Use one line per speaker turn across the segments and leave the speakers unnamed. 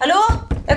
Hallo? Jeg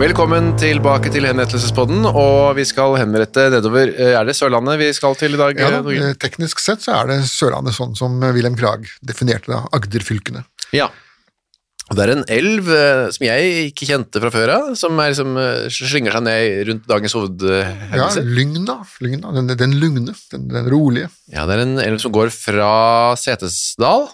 Velkommen tilbake til Henrettelsespodden, og vi skal henrette nedover eh, Er det Sørlandet vi skal til i dag?
Ja,
eh,
da,
Norge?
eh, teknisk sett så er det Sørlandet sånn som Wilhelm Krag definerte det, Agderfylkene.
ja. Og Det er en elv eh, som jeg ikke kjente fra før av, som er liksom, eh, slynger seg ned rundt dagens
Ja,
hovedhendelse. Ja.
Lygna, Lygna den, den lugne, den, den rolige.
det er en elv som går fra Setesdal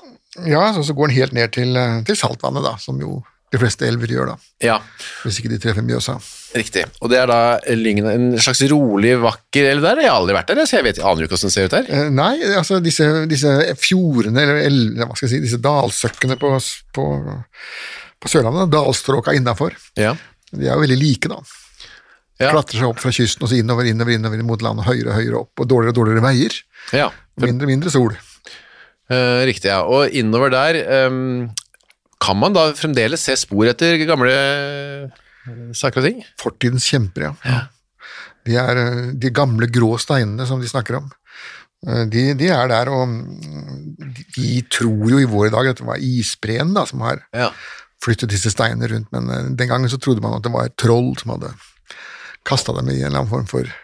Ja, så, så går den helt ned til, eh, til saltvannet, da, som jo de fleste elver gjør, da,
Ja,
hvis ikke de treffer Mjøsa.
riktig. Og det er da Lygna, en slags rolig, vakker elv der. Jeg har aldri vært der, så jeg vet, jeg aner jo ikke hvordan den ser ut der.
Eh, Nei, altså disse, disse fjordene, eller el- hva skal jeg si, disse dalsøkkene på, s- på, på Sørlandet, dalstråka innafor,
Ja.
de er jo veldig like, da.
Ja.
Klatrer seg opp fra kysten og så innover, innover, innover mot landet, høyere og høyere opp, og dårligere og dårligere veier.
ja.
Mindre og mindre sol.
Eh, riktig, ja. Og innover der ehm, kan man da fremdeles se spor etter gamle eh, saker og ting?
Fortidens kjempere, ja. De er eh, de gamle grå steinene som de snakker om. Eh, De, de er der, og mm, de tror jo i våre dager at det var isbreen da, som har
Ja.
flyttet disse steinene rundt, men eh, den gangen så trodde man at det var et troll som hadde kasta dem i en eller annen form for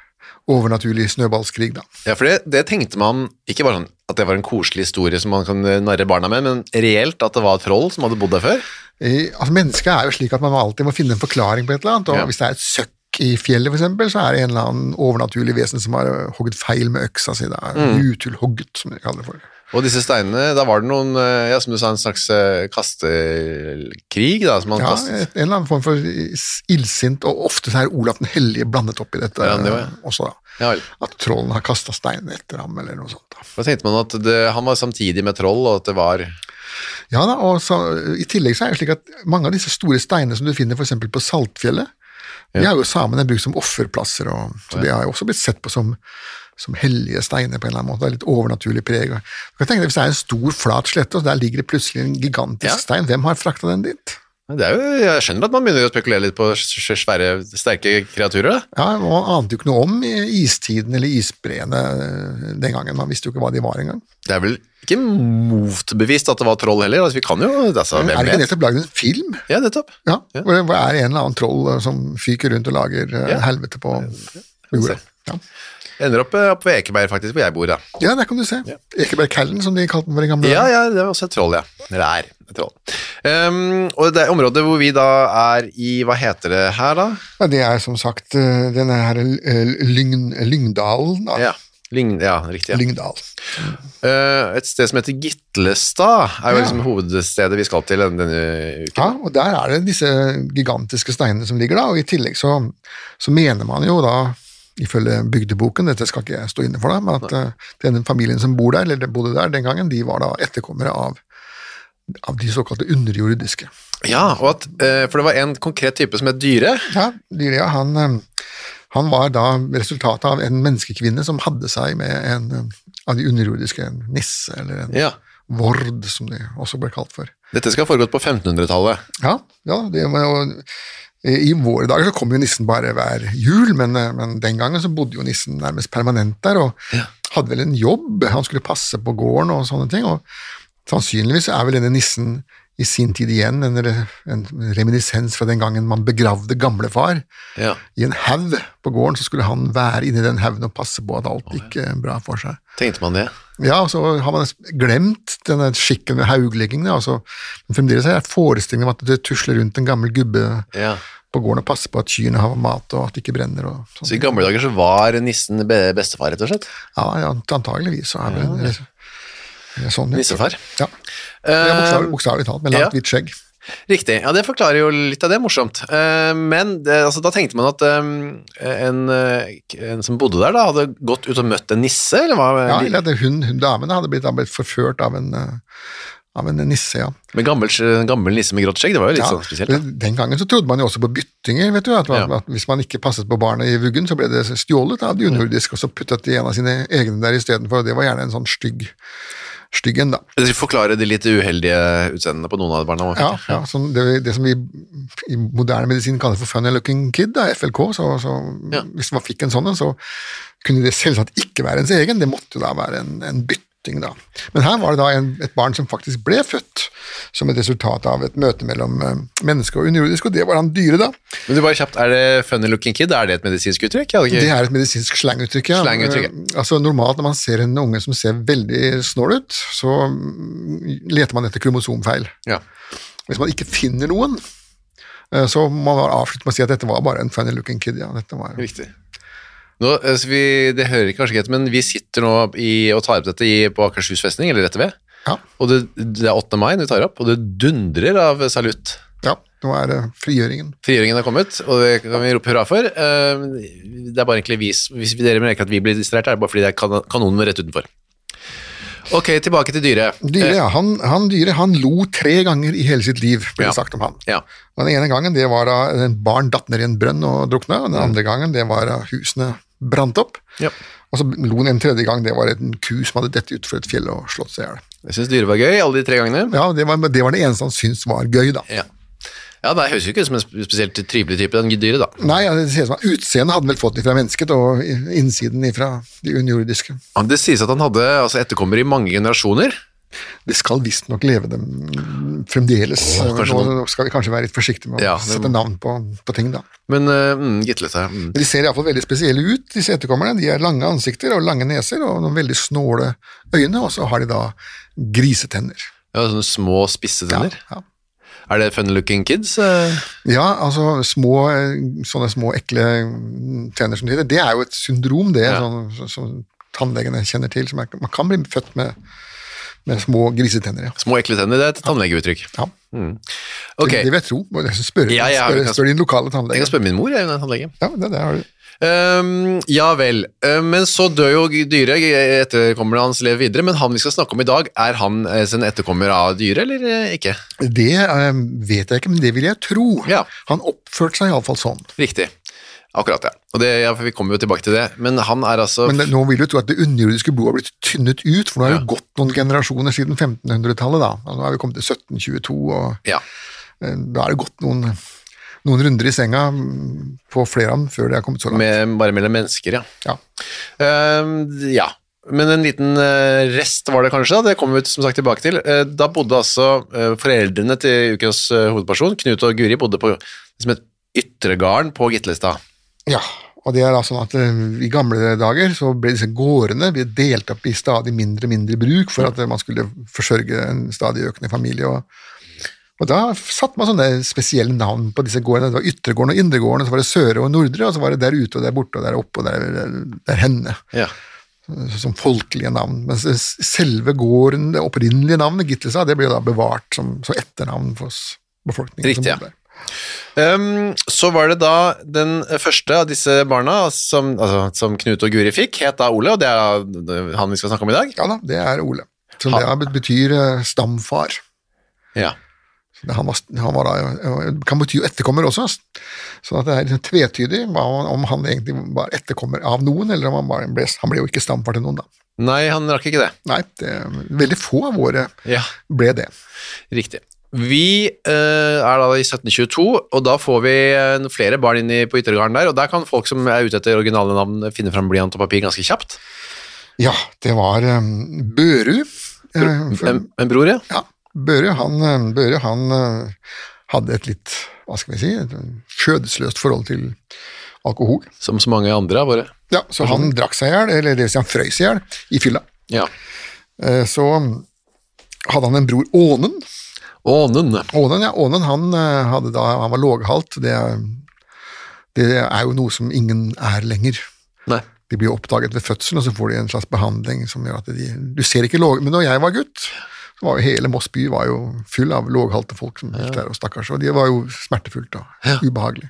overnaturlig snøballskrig, da.
for det, det tenkte man ikke bare sånn at det var en koselig historie som man kan eh, narre barna med, men reelt at det var et troll som hadde bodd der før?
I, altså, mennesket er jo slik at man alltid må finne en forklaring på et eller annet, og
Ja.
hvis det er et søkk i fjellet for eksempel, så er det en eller annen overnaturlig vesen som har eh, hogget feil med øksa si, da.
Mm.
Utulhogget, som de kaller det for.
Og disse steinene, da var det noen, eh, ja, som du sa, en slags eh, kastekrig da, som man
Ja,
kastet.
et- en eller annen form for is- illsint, og ofte så er Olav den hellige blandet opp i dette
Ja, det var, ja.
eh, også, da.
Ja, vel.
At trollen har kasta stein etter ham, eller noe sånt. da.
Da tenkte man at det, han var samtidig med troll, og at det var...
Ja da, og så, I tillegg så er det slik at mange av disse store steinene som du finner f.eks. på Saltfjellet, de har jo samene brukt som offerplasser, og, så de har jo også blitt sett på som, som hellige steiner på en eller annen måte. Det er litt overnaturlig preg. og- Du kan tenke deg Hvis det er en stor, flat slette, og der ligger det plutselig en gigantisk
Ja.
stein, hvem har frakta den dit?
Det er jo, jeg skjønner at man begynner å spekulere litt på s- s- svære, sterke kreaturer, da.
Ja, Man ante jo ikke noe om i istiden eller isbreene eh, den gangen, man visste jo ikke hva de var engang.
Det er vel ikke motbevist at det var troll heller. Altså, vi kan jo altså,
Er
hvem vet?
det ikke nettopp lagd en film?
Ja, nettopp.
Ja, Hvor det er en eller annen troll eh, som fyker rundt og lager eh,
Ja.
helvete på jorda. Ja.
Ender opp, eh, opp ved Ekeberg, faktisk, hvor jeg bor. Da.
Ja, der kan du se. Ekebergkallen, som de kalte den for i gamle
Ja,
dager.
ja, det er også et troll, ja. Eller er et troll. Ehm, og det er området hvor vi da er i Hva heter det her, da?
Ja, det er som sagt eh, denne her eh, Lyng, Lyngdalen. Da.
Ja, Ah. Lyng, ja riktig. Ja.
Lyngdal.
Eh, et sted som heter Gitlestad, er jo
Ja.
liksom hovedstedet vi skal til denne, denne uken.
Ja, og der er det disse gigantiske steinene som ligger da, og i tillegg så, så mener man jo da, ifølge bygdeboken, dette skal ikke jeg stå inne for da, men at eh, denne familien som bor der, eller bodde der den gangen, de var da etterkommere av, av de såkalte underjordiske.
Ja, og at, eh, For det var en konkret type som het Dyre.
Ja, Dyria, han, eh, han var da resultatet av en menneskekvinne som hadde seg med en eh, av de underjordiske, en nisse eller en
Ja.
Vord, som det også ble kalt for.
Dette skal ha foregått på 1500-tallet.
Ja, ja det, var jo- I våre dager så kom jo nissen bare hver jul, men, eh, men den gangen så bodde jo nissen nærmest permanent der, og hadde vel en jobb. Han skulle passe på gården og sånne ting. og Sannsynligvis er vel denne nissen i sin tid igjen en, re, en reminiscens fra den gangen man begravde gamlefar
Ja.
i en haug på gården, så skulle han være inni den haugen og passe på at alt gikk eh, bra for seg.
Tenkte man det?
Ja, og så har man glemt denne skikken med hauglegging. da, Altså, men fremdeles er forestillingen om at det tusler rundt en gammel gubbe
Ja.
på gården og passer på at kyrne har mat og at det ikke brenner. og
Så i
sånn.
gamle dager så var nissen be- bestefar, rett og slett?
Ja, ja, antageligvis så er det det er sånn. ja.
Nissefar.
Ja, ja bokstavelig, bokstavelig talt, med
Um, ja.
langt hvitt skjegg.
Riktig. Ja, det forklarer jo litt av det morsomt. Eh, Men det, altså, da tenkte man at eh, en, eh, en som bodde der, da, hadde gått ut og møtt en nisse, eller hva?
Ja, eller at hun, hun damene hadde blitt, hadde blitt forført av en, eh, av en nisse, ja.
Men gammel, en gammel nisse med grått skjegg, det var jo litt
Ja,
sånn spesielt. Da.
men Den gangen så trodde man jo også på byttinger, vet du. At, man,
Ja.
at hvis man ikke passet på barnet i vuggen, så ble det stjålet av de underjordiske, og så puttet de en av sine egne der istedenfor. og Det var gjerne en sånn stygg stygg en, da.
Det forklarer de litt uheldige utseendene på noen av barna. man
Ja,
fikk.
ja, sånn det, det som vi i moderne medisin kaller for funny looking kid, da, FLK. Så, så
Ja.
hvis man fikk en sånn en, så kunne det selvsagt ikke være ens egen, det måtte jo da være en, en bytting, da. Men her var det da en, et barn som faktisk ble født som et resultat av et møte mellom eh, menneske og underjordisk, og det var han dyre, da.
Men du bare kjapt, er det funny looking kid? Er det et medisinsk uttrykk? Jeg hadde ikke-
Det er et medisinsk slanguttrykk, ja.
Slanguttrykk,
Eh, Altså, normalt når man ser en unge som ser veldig snål ut, så mm, leter man etter kromosomfeil.
Ja.
Hvis man ikke finner noen, eh, så må man avslutte med å si at dette var bare en funny looking kid. Ja. Dette var,
Riktig. Nå, eh, så vi, det hører kanskje ikke etter, men vi sitter nå i, og tar opp dette i, på Akershus festning, eller rett ved.
ja,
Og det, det er 8. mai når vi tar opp, og det dundrer av salutt.
ja, nå er det eh, frigjøringen.
Frigjøringen har kommet, og det kan vi rope hurra for. Eh, Det er bare egentlig vi, s- Hvis dere merker at vi blir distrahert, er det bare fordi det er kan- kanonen rett utenfor. Ok, tilbake til dyret.
Dyre, ja, han, han dyre han lo tre ganger i hele sitt liv, ble
Ja.
det sagt om han.
Eh, Ja.
Og Den ene gangen det var da en barn datt ned i en brønn og drukna, og den andre gangen det var da husene brant opp.
Ja.
Og så lo han en tredje gang, det var en ku som hadde dett utfor et fjell og slått seg i hjel.
Jeg syns dyret var gøy, alle de tre gangene.
Ja, det var, men det var det eneste han syntes var gøy, da.
Ja. Ja, det høres jo ikke ut som en sp- spesielt trivelig type, den dyret, da.
Nei, ja, det ser ut som at Utseendet hadde han vel fått ifra mennesket, og i- innsiden ifra de underjordiske.
Ja, Det sies at han hadde altså, etterkommere i mange generasjoner.
Det skal visstnok leve dem fremdeles.
Åh, kanskje
Nå skal vi kanskje være litt forsiktige med å
Ja, det-
sette navn på, på ting, da.
Men eh, mm, Gitle seg. Mm.
Men De ser iallfall veldig spesielle ut, disse etterkommerne. De har lange ansikter og lange neser og noen veldig snåle øyne, og så har de da grisetenner.
Ja, sånne små, spisse tenner.
Ja.
Er det fun looking kids? eh?
Ja, altså små, eh, sånne små ekle mm, tenner som det heter, det er jo et syndrom, det,
Ja.
sånn, som- som tannlegene kjenner til. Som er, man kan bli født med, med små grisetenner, ja.
Små, ekle tenner, det er et tannlegeuttrykk.
ja. Det,
Ok,
det vil jeg tro. Må jeg Spørre,
Ja, ja, vi
spørre,
kan-
spørre din lokale
jeg
tannlege.
kan spørre min mor, jeg, hun er tannlege.
Ja, det, det har du.
Ehm, ja vel, Ehm, men så dør jo dyret, etterkommerne hans lever videre, men han vi skal snakke om i dag, er han eh, sin etterkommer av dyret, eller eh, ikke?
Det eh, vet jeg ikke, men det vil jeg tro.
Ja.
Han oppførte seg iallfall sånn.
Riktig. Akkurat, ja. Og det, ja, for vi kommer jo tilbake til det, men han er altså...
Men det, nå vil du tro at det underjordiske blodet har blitt tynnet ut, for nå har det gått noen generasjoner siden 1500-tallet, da. Altså, nå er vi kommet til 1722, og
ja.
eh, da er det gått noen, noen runder i senga mm, på flere av dem før det har kommet så langt.
Med, bare mellom mennesker, ja.
Ja.
Ehm, ja. Men en liten eh, rest var det kanskje, da. det kommer vi som sagt tilbake til. Eh, da bodde altså eh, foreldrene til ukens eh, hovedperson, Knut og Guri, bodde på det som et yttergarden på Gitlestad.
ja. Og det er da sånn at eh, I gamle dager så ble disse gårdene ble delt opp i stadig mindre og mindre bruk for at eh, man skulle forsørge en stadig økende familie. og og Da satte man sånne spesielle navn på disse gårdene. Det var yttergården og indregården, og så var det søre og nordre, og så var det der ute og der borte og der oppe og der, der, der henne.
Ja.
som folkelige navn. Mens selve gården, det opprinnelige navnet, Gitlesa, det ble jo da bevart som, som etternavn for oss befolkningen.
Riktig, ja.
som bodde der.
Ehm, så var det da den første av disse barna som, altså, som Knut og Guri fikk, het da Ole, og det er han vi skal snakke om i dag.
Ja da, det er Ole. Som
Han-
det er- betyr eh, stamfar.
Ja.
Så det- Han var, han var da, eh, kan bety jo etterkommer også, sånn at det er liksom tvetydig hva han- om han egentlig var etterkommer av noen, eller om han, bare ble, han ble jo ikke stamfar til noen, da.
Nei, han rakk ikke det.
Nei, det, veldig få av våre
Ja,
ble det.
riktig. Vi eh, er da i 1722, og da får vi eh, flere barn inn i, på Yttergarden der, og der kan folk som er ute etter originale navn eh, finne fram blyant og papir ganske kjapt.
Ja, det var um, Børud. eh, for-
En, en bror, ja.
Ja, Børud han, eh, Børud, han eh, hadde et litt, hva skal vi si, et skjødesløst forhold til alkohol.
Som så mange andre av våre.
Ja, så han drakk seg i hjel, eller det vil si han frøys i hjel, i fylla.
Ja.
Eh, Så hadde han en bror, Ånen.
Ånen.
Ånen, ja, Ånen han, eh, hadde da, han var låghalt, det, det er jo noe som ingen er lenger.
Nei.
De blir jo oppdaget ved fødselen, og så får de en slags behandling som gjør at de Du ser ikke låg... Men når jeg var gutt, så var jo hele Moss by var jo full av låghalte folk som gikk der, og stakkars, og det var jo smertefullt og ubehagelig.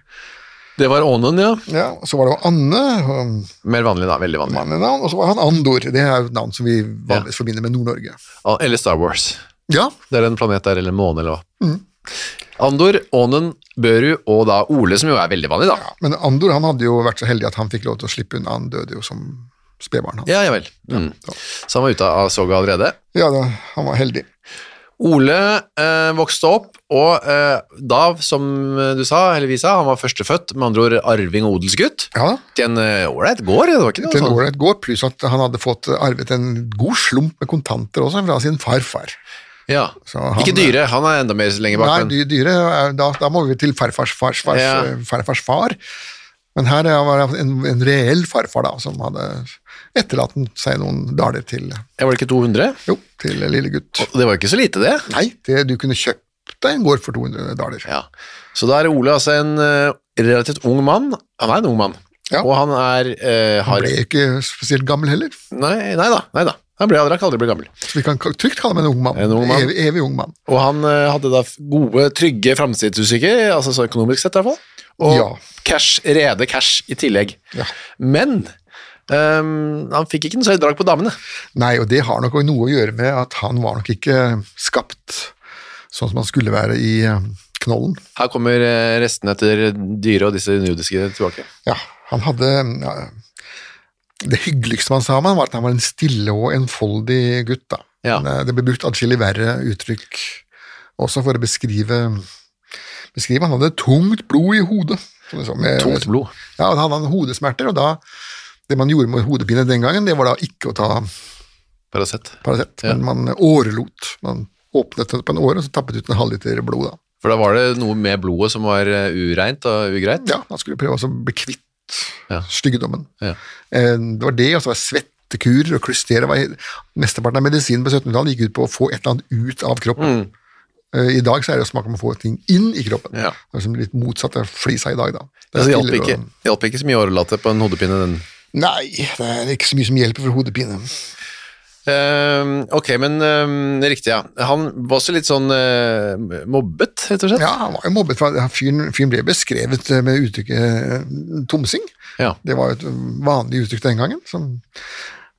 Det var Ånen, ja.
Ja, og Så var det jo Anne, og
Mer vanlig da, veldig vanlig.
mannenavn, og så var han Andor. Det er jo et navn som vi vanligvis forbinder med Nord-Norge.
Ah, Eller Star Wars.
Ja,
Det er en planet der, eller en måne, eller hva.
Mm.
Andor, Ånen, Børu og da Ole, som jo er veldig vanlig, da.
men Andor han hadde jo vært så heldig at han fikk lov til å slippe unna, han døde jo som spedbarn. Han.
Ja, ja vel. Mm. Så han var ute av soga allerede.
Ja, da, han var heldig.
Ole eh, vokste opp, og eh, da, som du sa, eller vi sa, han var førstefødt, med andre ord arving og odelsgutt.
Ja da.
Til en eh, ålreit gård, det var ikke noe
Til en
sånn.
ålreit gård, pluss at han hadde fått arvet en god slump med kontanter også fra sin farfar.
Ja.
Så han- eh,
ikke dyre, han er enda mer lenger bak.
Nei,
men-
dy- dyre, er- da, da må vi til farfars, fars, fars,
Ja.
eh, farfars far. Men her er- var det en, en reell farfar da, som hadde etterlatt seg noen daler til,
Jeg var det ikke 200?
jo, til lille gutt.
Det var jo ikke så lite, det.
Nei, det, du kunne kjøpt deg en gård for 200 daler.
Ja. Så da er Ole altså en eh, relativt ung mann. Han er en ung mann.
Ja.
Og han er eh,
Han
har...
ble ikke spesielt gammel heller,
Nei, nei da, nei da. Han ble aldri, aldri blitt gammel.
så vi kan ka- trygt kalle ham en ung mann.
En ung mann.
Evig, evig ung mann.
Og han eh, hadde da f- gode, trygge framtidsutsikter, altså så økonomisk sett i hvert fall. Og
Ja.
cash, rede cash i tillegg. Men ehm, han fikk ikke noe særlig drag på damene.
Nei, og det har nok noe å gjøre med at han var nok ikke skapt sånn som han skulle være i eh, knollen.
Her kommer eh, restene etter dyre og disse nudiske tilbake.
Ja, han hadde ja, Det hyggeligste man sa om han var at han var en stille og enfoldig gutt. da.
Ja.
Men, eh, det ble brukt adskillig verre uttrykk også for å beskrive beskrive. Han hadde tungt blod i hodet. som det sa, med-
Tungt blod.
Ja, og da hadde han hodesmerter, og da Det man gjorde med hodepine den gangen, det var da ikke å ta
Paracet.
Paracet,
Ja.
men man årelot. Man åpnet den på en åre og så tappet ut en halvliter blod. da.
For da var det noe med blodet som var eh, ureint og ugreit.
Ja, han skulle prøve også å bli kvitt
Ja.
styggedommen.
Ja.
Eh, Det var det, og så var det svettekurer og klyster. Det var- Mesteparten av medisinen på 1700-tallet gikk ut på å få et eller annet ut av kroppen. Eh, I dag så er det jo snakk om å få ting inn i kroppen.
Mm. Ja.
Det er liksom litt motsatt av flisa i dag, da. Det
Det
er
hjalp
piller
ikke,
og-
hjalp ikke så mye årelatte på en hodepine. den.
Nei, det er ikke så mye som hjelper for hodepine.
Ehm, ok, men ehm, riktig, ja. Han var også litt sånn eh, mobbet, rett og slett.
Ja, han var jo mobbet. fra- Fyren, fyren ble beskrevet eh, med uttrykket eh, tomsing.
Ja.
Det var jo et um, vanlig uttrykk den gangen. Som,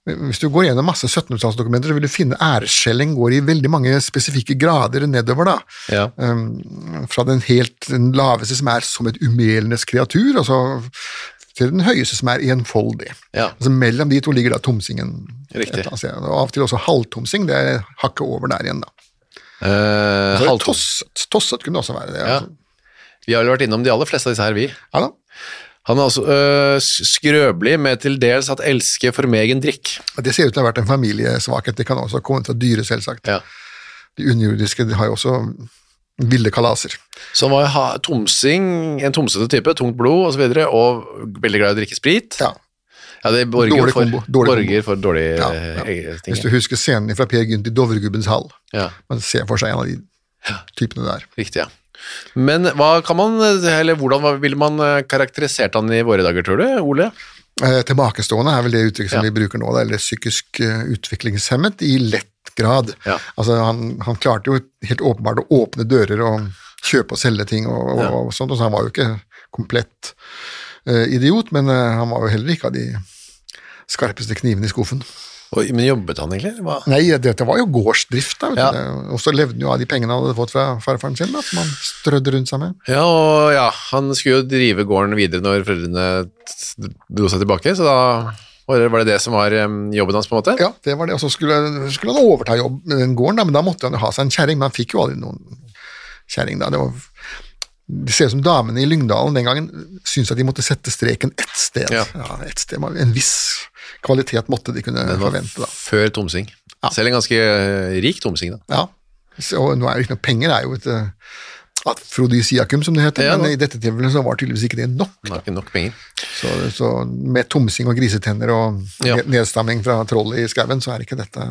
hvis du går gjennom masse 1700-tallsdokumenter, så vil du finne æresskjelling går i veldig mange spesifikke grader nedover, da.
Ja.
Um, Fra den helt den laveste, som er som et umelenes kreatur, og så til den høyeste, som er enfoldig.
Ja.
Altså Mellom de to ligger da tomsingen.
Riktig.
et eller annet sted. Og Av og til også halvtomsing. Det er hakket over der igjen, da.
Eh,
Så er det
halvtom.
Tosset. Tosset kunne det også være. det.
Ja.
altså.
Vi har vel vært innom de aller fleste av disse her, vi.
Ja da.
Han er altså øh, sk- skrøpelig med til dels at elske formegen drikk.
Det ser ut til å ha vært en familiesvakhet. Det kan også komme fra dyre, selvsagt.
Ja.
De underjordiske de har jo også ville kalaser.
Så han var ha, tomsing, en tomsete type, tungt blod osv., og, så videre, og veldig glad i å drikke sprit.
Ja.
Ja, det borger
Dårlig
for,
kombo, dårlig kombo.
borger for dårlige
Ja, ja.
eh, eh, ting.
Hvis du husker scenen fra Per Gynt i Dovregubbens hall.
Ja,
Man ser for seg en av de typene der.
riktig, ja. Men hva kan man, eller hvordan var- ville man eh, karakterisert han i våre dager, tror du, Ole?
Eh, tilbakestående er vel det uttrykket som
Ja.
vi bruker nå, da, eller psykisk eh, utviklingshemmet i lett grad.
Ja.
Altså, han, han klarte jo helt åpenbart å åpne dører og kjøpe og selge ting og, og, og sånt, og så han var jo ikke komplett eh, idiot, men eh, han var jo heller ikke av de skarpeste knivene i skuffen.
Oi, men jobbet han egentlig? eller Hva?
Nei, dette var jo gårdsdrift, da. vet
Ja.
du. Det- Og så levde han jo av de pengene han hadde fått fra farfaren sin, da, som han strødde rundt seg med.
Ja, og ja, han skulle jo drive gården videre når foreldrene t- dro seg tilbake, så da Var det, var det det som var em, jobben hans, på en måte?
Ja, det var det. Og så skulle, skulle han overta jobb med den gården, da, men da måtte han jo ha seg en kjerring. Men han fikk jo aldri noen kjerring, da. Det, var, det ser ut som damene i Lyngdalen den gangen syntes at de måtte sette streken ett sted.
Ja.
Ja. ett sted. var- En viss kvalitet måtte de kunne
Den var
forvente, da.
før Tomsing. Selv en ganske eh, rik Tomsing, da.
Ja. Så, og nå er det ikke noe penger, det er jo et eh, afrodisiakum, som det heter.
Ja,
men
nå-
i dette tilfellet så var tydeligvis ikke det nok.
Han har ikke nok penger.
Så, så med tomsing og grisetenner og
Ja.
ned- nedstamming fra troll i skauen, så er ikke dette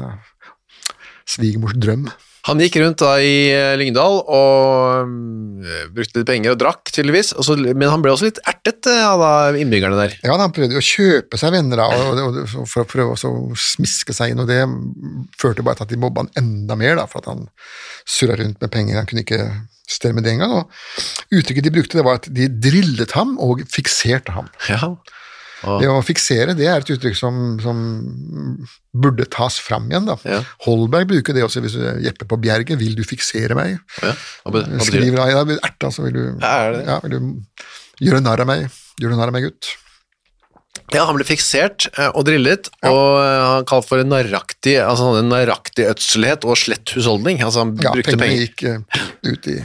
svigermors drøm.
Han gikk rundt da i eh, Lyngdal og mm, brukte litt penger og drakk, tydeligvis. Og så, men han ble også litt ertet eh, av da innbyggerne der.
Ja, da, han prøvde jo å kjøpe seg venner da, og, og, og, for å prøve også å smiske seg inn, og det førte bare til at de mobba han enda mer, da, for at han surra rundt med penger. Han kunne ikke stelle med det engang. Og uttrykket de brukte, det var at de drillet ham og fikserte ham.
Ja. Ah.
Det å fiksere det er et uttrykk som, som burde tas fram igjen. Da.
Ja.
Holberg bruker det også hvis du Jeppe på Bjerget 'Vil du fiksere meg?'
ja. Hva, be- hva betyr det?
Skriver han ja, erta, så vil du,
Ja, er det det?
ja, vil du gjøre narr av meg. Gjør du narr av meg, gutt?
Ja, han ble fiksert eh, og drillet, og eh, han kalt for en narraktig, altså han hadde en narraktig ødselighet og slett husholdning. Altså han
Ja,
brukte penger.
pengene gikk eh, ut i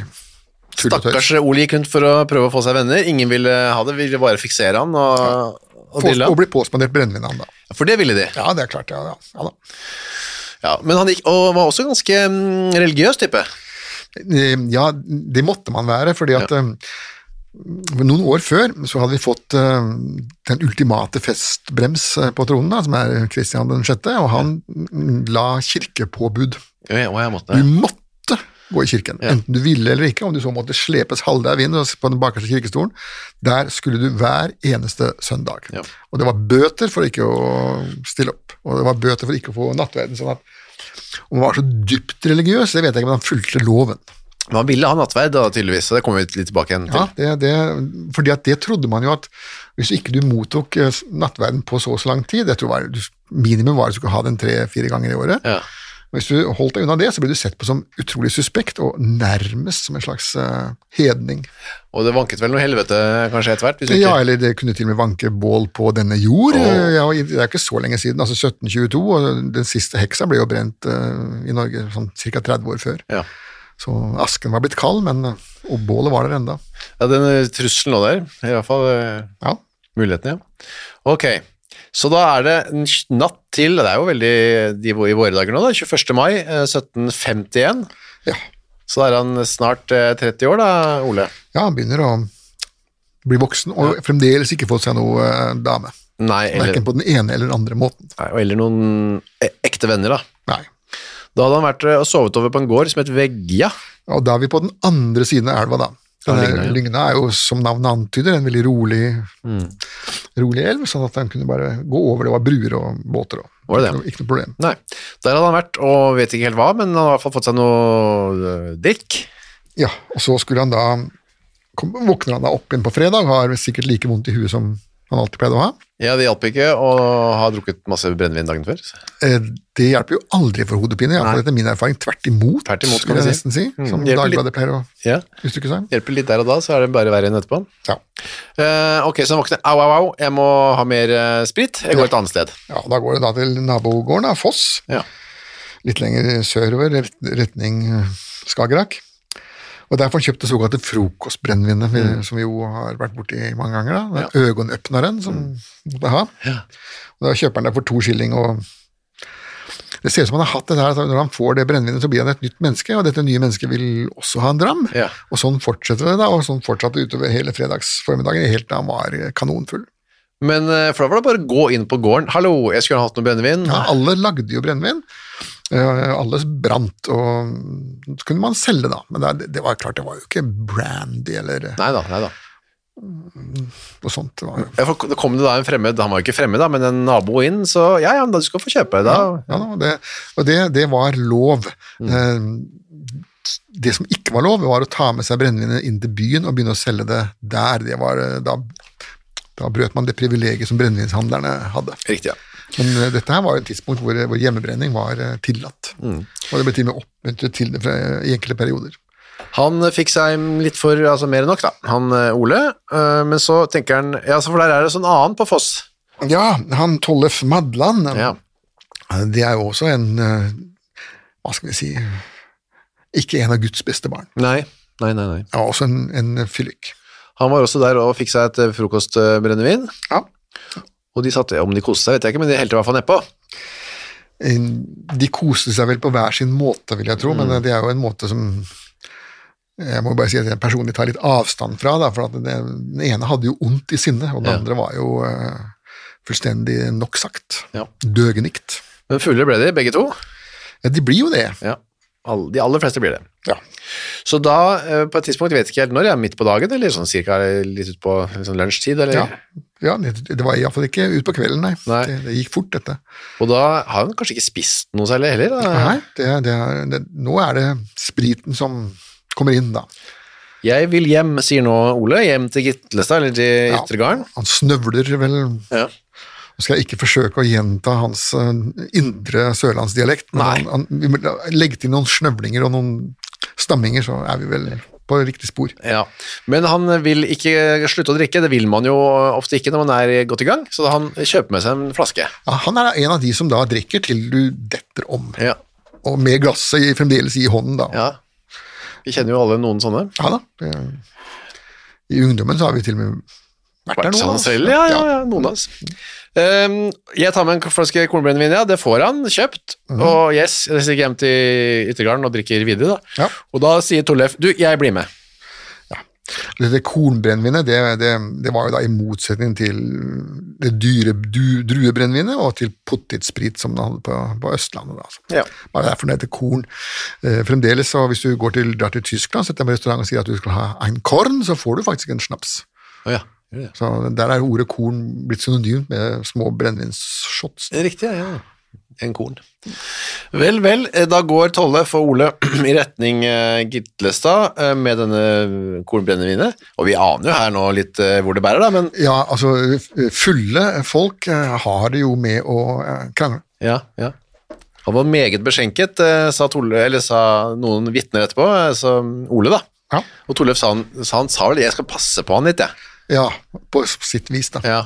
tull og
Stakkars eh,
tøys.
Ole gikk rundt for å prøve å få seg venner. Ingen ville ha det, ville bare fiksere han og, og
Pås-
drille
Og
han.
bli påspandert brennevin av ham, da.
For det ville de.
Ja, det er klart. Ja, ja, ja da.
Ja, men han gikk, og var også ganske mm, religiøs type.
Eh, Ja, det måtte man være, fordi at eh, noen år før så hadde vi fått eh, den ultimate festbrems eh, på tronen, da, som er Kristian 6., og han mm, la kirkepåbud.
Ja, ja, jeg måtte.
Du måtte gå i kirken, enten du ville eller ikke, om du så måtte slepes halvdau inn og på den bakerste kirkestolen. Der skulle du hver eneste søndag.
Ja.
Og det var bøter for ikke å stille opp, og det var bøter for ikke å få nattverden. sånn at om han var så dypt religiøs, det vet jeg ikke, men han fulgte loven.
Men han ville ha nattverd, da, tydeligvis, så det kommer vi litt tilbake igjen til.
Ja, det, det, fordi at det trodde man jo at hvis ikke du mottok eh, nattverden på så og så lang tid, jeg tror var, du- minimum var at du skulle ha den tre-fire ganger i året,
Ja.
hvis du holdt deg unna det, så ble du sett på som utrolig suspekt og nærmest som en slags eh, hedning.
Og det vanket vel noe helvete kanskje etter hvert? Hvis du
Ja,
ikke...
eller det kunne til og med vanke bål på denne jord. Eh,
Åh.
Ja, og i- det er ikke så lenge siden, altså 1722, og den siste heksa ble jo brent eh, i Norge sånn ca. 30 år før.
ja.
Så asken var blitt kald, men eh, og bålet var der enda.
ja, den eh, trusselen lå der, i hvert fall eh,
Ja,
muligheten, ja. Ok, så da er det en sj- natt til, det er jo veldig de i våre dager nå, da, 21. mai eh, 1751.
ja.
Så da er han snart eh, 30 år da, Ole.
Ja, han begynner å bli voksen, og fremdeles ikke fått seg noe eh, dame.
Nei, eller,
Verken på den ene eller den andre måten.
nei, og eller noen e- ekte venner da.
Nei.
Da hadde han vært eh, og sovet over på en gård som het Vegja.
Og da er vi på den andre siden av elva, da. Denne
Ja, Lygna, ja.
Lygna er jo, som navnet antyder, en veldig rolig,
Mm.
rolig elv, sånn at han kunne bare gå over. Det var bruer og båter og
Var det det?
Ikke, noe, ikke noe problem.
Nei, der hadde han vært, og vet ikke helt hva, men han har i hvert fall fått seg noe eh, drikk.
Ja, og så skulle han da kom, Våkner han da opp igjen på fredag, har sikkert like vondt i huet som han alltid pleide å ha.
Ja, det hjalp ikke å ha drukket masse brennevin dagen før.
Eh, Det hjelper jo aldri for hodepine, iallfall etter min erfaring. Tvert imot,
Tvert imot, kan
vil jeg
vi si.
nesten si.
Mm.
Som
Det hjelper litt.
Dagbladet pleier å
Ja,
uttrykke seg.
hjelper litt der og da, så er det bare verre enn etterpå.
Ja.
Eh, ok, så han våkner, au, au, au, jeg må ha mer eh, sprit, jeg går et annet sted.
Ja, Da går det da til nabogården, da, Foss,
Ja.
litt lenger sørover, ret- retning eh, Skagerrak. Og Der får han kjøpt det såkalte frokostbrennevinet, vi- som vi jo har vært borti mange ganger. da, den Øgonøpneren som måtte ha. Og Da kjøper han det for to skilling. og Det ser ut som han har hatt det der, at når han får det brennevinet, så blir han et nytt menneske, og dette nye mennesket vil også ha en dram.
Ja.
Og sånn fortsetter det, da, og sånn fortsatte det utover hele fredagsformiddagen, helt til han var eh, kanonfull.
Men eh, for da var det bare å gå inn på gården, hallo, jeg skulle ha hatt noe brennevin.
Ja, alle lagde jo brennevin. Eh, Alle brant, og så kunne man selge, da. Men det, det var klart, det var jo ikke brandy eller
Nei da, nei da.
noe sånt. Det var jo
Ja, for Da kom det da en fremmed, han var jo ikke fremmed da, men en nabo inn, så ja, ja, men da du skal få kjøpe da.
Ja, da, det, og det, det var lov. Eh, Det som ikke var lov, var å ta med seg brennevinet inn til byen og begynne å selge det der. Det var, eh, da, da brøt man det privilegiet som brennevinshandlerne hadde.
Riktig, ja.
Men eh, dette her var jo et tidspunkt hvor, hvor hjemmebrenning var eh, tillatt. Og det ble til og med oppmuntret til det fra, i enkelte perioder.
Han eh, fikk seg litt for, altså mer enn nok da, han eh, Ole, Eh, men så tenker han, ja, så for der er det sånn annen på Foss,
Ja, han Tollef Madland,
Ja.
det er jo også en eh, Hva skal vi si Ikke en av Guds beste barn.
Nei, nei, nei. nei.
Han var også en, en fyllik.
Han var også der og fikk seg et eh, frokostbrennevin,
Ja.
og de satt, om de koste seg, vet jeg ikke, men de helte i hvert fall nedpå.
Eh, De koste seg vel på hver sin måte, vil jeg tro,
Mm.
men eh, det er jo en måte som jeg må bare si at jeg personlig tar litt avstand fra, da, for at det, den ene hadde jo ondt i sinnet, og den
Ja.
andre var jo eh, fullstendig nok sagt.
Ja.
Døgenikt.
Men fuglere ble de, begge to.
Ja, de blir jo det.
Ja. Alle- De aller fleste blir det.
Ja.
Så da, eh, på et tidspunkt, vet jeg ikke helt når, ja, midt på dagen, eller sånn cirka eh, litt ut på sånn lunsjtid, eller?
Ja, ja det, det var iallfall ikke ut på kvelden, nei.
Nei.
Det, det gikk fort, dette.
Og da har han kanskje ikke spist noe særlig heller, da.
Nei, det, det, er- det, nå er det spriten som kommer inn, da.
Jeg vil hjem, sier nå Ole, hjem til Gitlestad, eller til
Ja.
Yttergarden.
Han snøvler vel Nå
Ja.
skal jeg ikke forsøke å gjenta hans eh, indre sørlandsdialekt, men
Nei.
han, han, vi må la- legge til noen snøvlinger og noen stamminger, så er vi vel på riktig spor.
Ja. Men han vil ikke slutte å drikke, det vil man jo ofte ikke når man er godt i gang, så han kjøper med seg en flaske.
Ja, han er en av de som da drikker til du detter om,
Ja.
og med glasset i- fremdeles i hånden, da.
ja. Vi kjenner jo alle noen sånne.
Ja da. det- I ungdommen så har vi til og med vært der
Vært
nå.
sånn
da.
selv, ja, ja, ja, noen av oss. Um, jeg tar med en flaske kornbrennevin, ja, det får han kjøpt, og yes, jeg stikker hjem til Yttergarden og drikker videre da.
Ja.
Og da sier Tollef, du, jeg blir med.
Dette kornbrennevinet, det, det, det var jo da i motsetning til det dyre du, druebrennevinet og til potetsprit som man hadde på, på Østlandet. Da, altså.
Ja.
Bare derfor det heter korn. Eh, fremdeles, så hvis du går til, drar til Tyskland, setter deg på restaurant og sier at du skal ha en korn, så får du faktisk en snaps.
Å ja, gjør det.
Så der er ordet korn blitt synonymt med små brennevinsshots.
Riktig, ja. En korn. Vel, vel, eh, da går Tollef og Ole i retning eh, Gitlestad eh, med denne kornbrennevinet, og vi aner jo her nå litt eh, hvor det bærer da, men
Ja, altså f- fulle folk eh, har det jo med å eh, krangle.
ja, ja. Han var meget beskjenket, eh, sa, Tolle, eller sa noen vittner etterpå, eh, så Ole da.
Ja.
Og Tollef sa han, sa han sa vel, jeg skal passe på han litt, jeg.
Ja, på sitt vis, da.
Ja.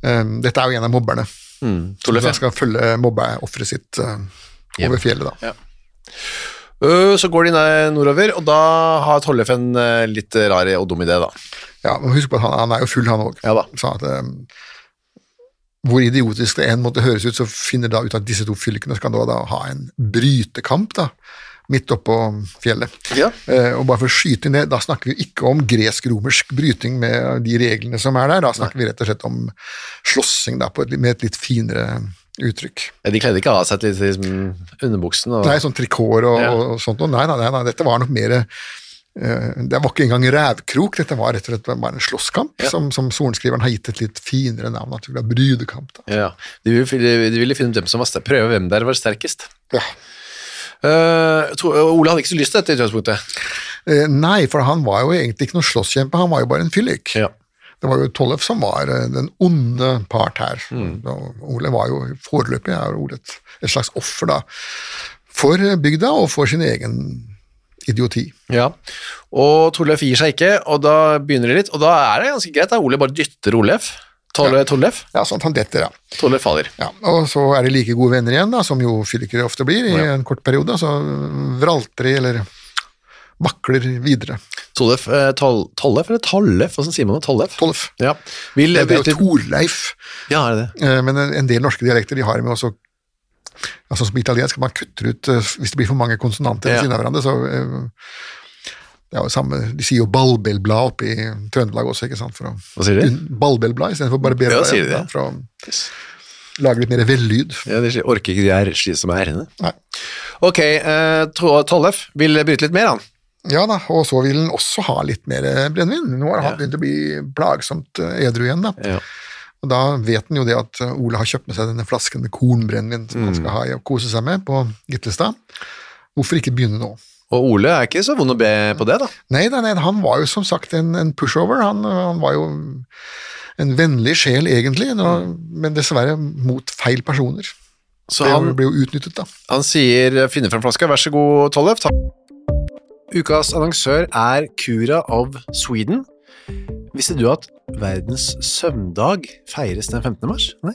Eh, Dette er jo en av mobberne. Mm,
Tollef, ja.
som skal følge mobbeofferet sitt eh, over fjellet, da.
Ø, Så går de ned nordover, og da har Tollef en eh, litt rar og dum idé da.
Ja, men Husk på at han, han er jo full, han òg.
Ja da.
at eh, hvor idiotisk det enn måtte høres ut, så finner da ut at disse to fylkene skal da, da ha en brytekamp da, midt oppå fjellet.
Ja.
Eh, og bare for å skyte inn det, da snakker vi ikke om gresk-romersk bryting med de reglene som er der, da snakker vi rett og slett om slåssing da, på et, litt- med et litt finere uttrykk.
Ja, Eh, De kledde ikke av seg til liksom, underbuksen. Og...
Nei, sånn trikår og,
Ja.
og sånt. noe. Nei, nei, nei, nei, dette var nok mer eh, Det var ikke engang rævkrok, dette var rett og slett bare en slåsskamp, som, som sorenskriveren har gitt et litt finere navn. At det ble brydekamp. Da.
Ja, de ville, fi- de ville finne ut hvem som var sterk, prøve hvem der var sterkest.
Ja.
Eh, to, og Ole hadde ikke så lyst til dette i utgangspunktet.
Eh, nei, for han var jo egentlig ikke noen slåsskjempe, han var jo bare en fyllik. Det var jo Tollef som var eh, den onde part her. Og Ole var jo foreløpig er Ole et, et slags offer da, for eh, bygda og for sin egen idioti.
Ja. Og Torleif gir seg ikke, og da begynner de litt, og da er det ganske greit, da Ole bare dytter Olef. Tolle, Torleif?
Ja, sånn at han detter, ja.
Torleif faller.
Ja, og så er de like gode venner igjen, da, som jo fyllikere ofte blir i en kort periode. Så vralter de, eller vakler videre.
Torleif, eh, tol, Tollef, eller Tollef, hvordan sier man det? Tollef?
Tollef.
Ja. Vil,
Det er jo
bryter-
Torleif,
Ja, er det det?
eh, men en en del norske dialekter de har med også altså Som italiensk man kutter ut eh, hvis det blir for mange konsonanter ved
Ja.
siden av hverandre. så... eh, Det er jo samme, De sier jo ballbellblad oppe i Trøndelag også, ikke sant? For å,
Hva sier
Mm.
de?
ballbellblad istedenfor barberblad.
Ja, sier de
ja,
det?
For å lage litt mer vellyd.
Ja, de sier, orker ikke de her slik som er henne.
Nei.
Ok, eh, To- Tollef vil bryte litt mer, han.
Ja da, og så vil han også ha litt mer brennevin. Nå har han begynt å bli plagsomt eh, edru igjen, da.
Ja.
Og da vet han jo det at eh, Ole har kjøpt med seg denne flasken med kornbrennevin som
Mm.
han skal ha i og kose seg med på Gitlestad. Hvorfor ikke begynne nå?
Og Ole er ikke så vond å be på det, da.
Nei, nei, nei, han var jo som sagt en, en pushover. Han, han var jo en vennlig sjel, egentlig, nå, men dessverre mot feil personer.
Mm. Så
Det
han
ble jo utnyttet, da.
Han sier 'finne frem flaska, vær så god, Tollef'. Ta. Ukas annonsør er Cura of Sweden. Visste du at verdens søvndag feires den 15. mars? Nei.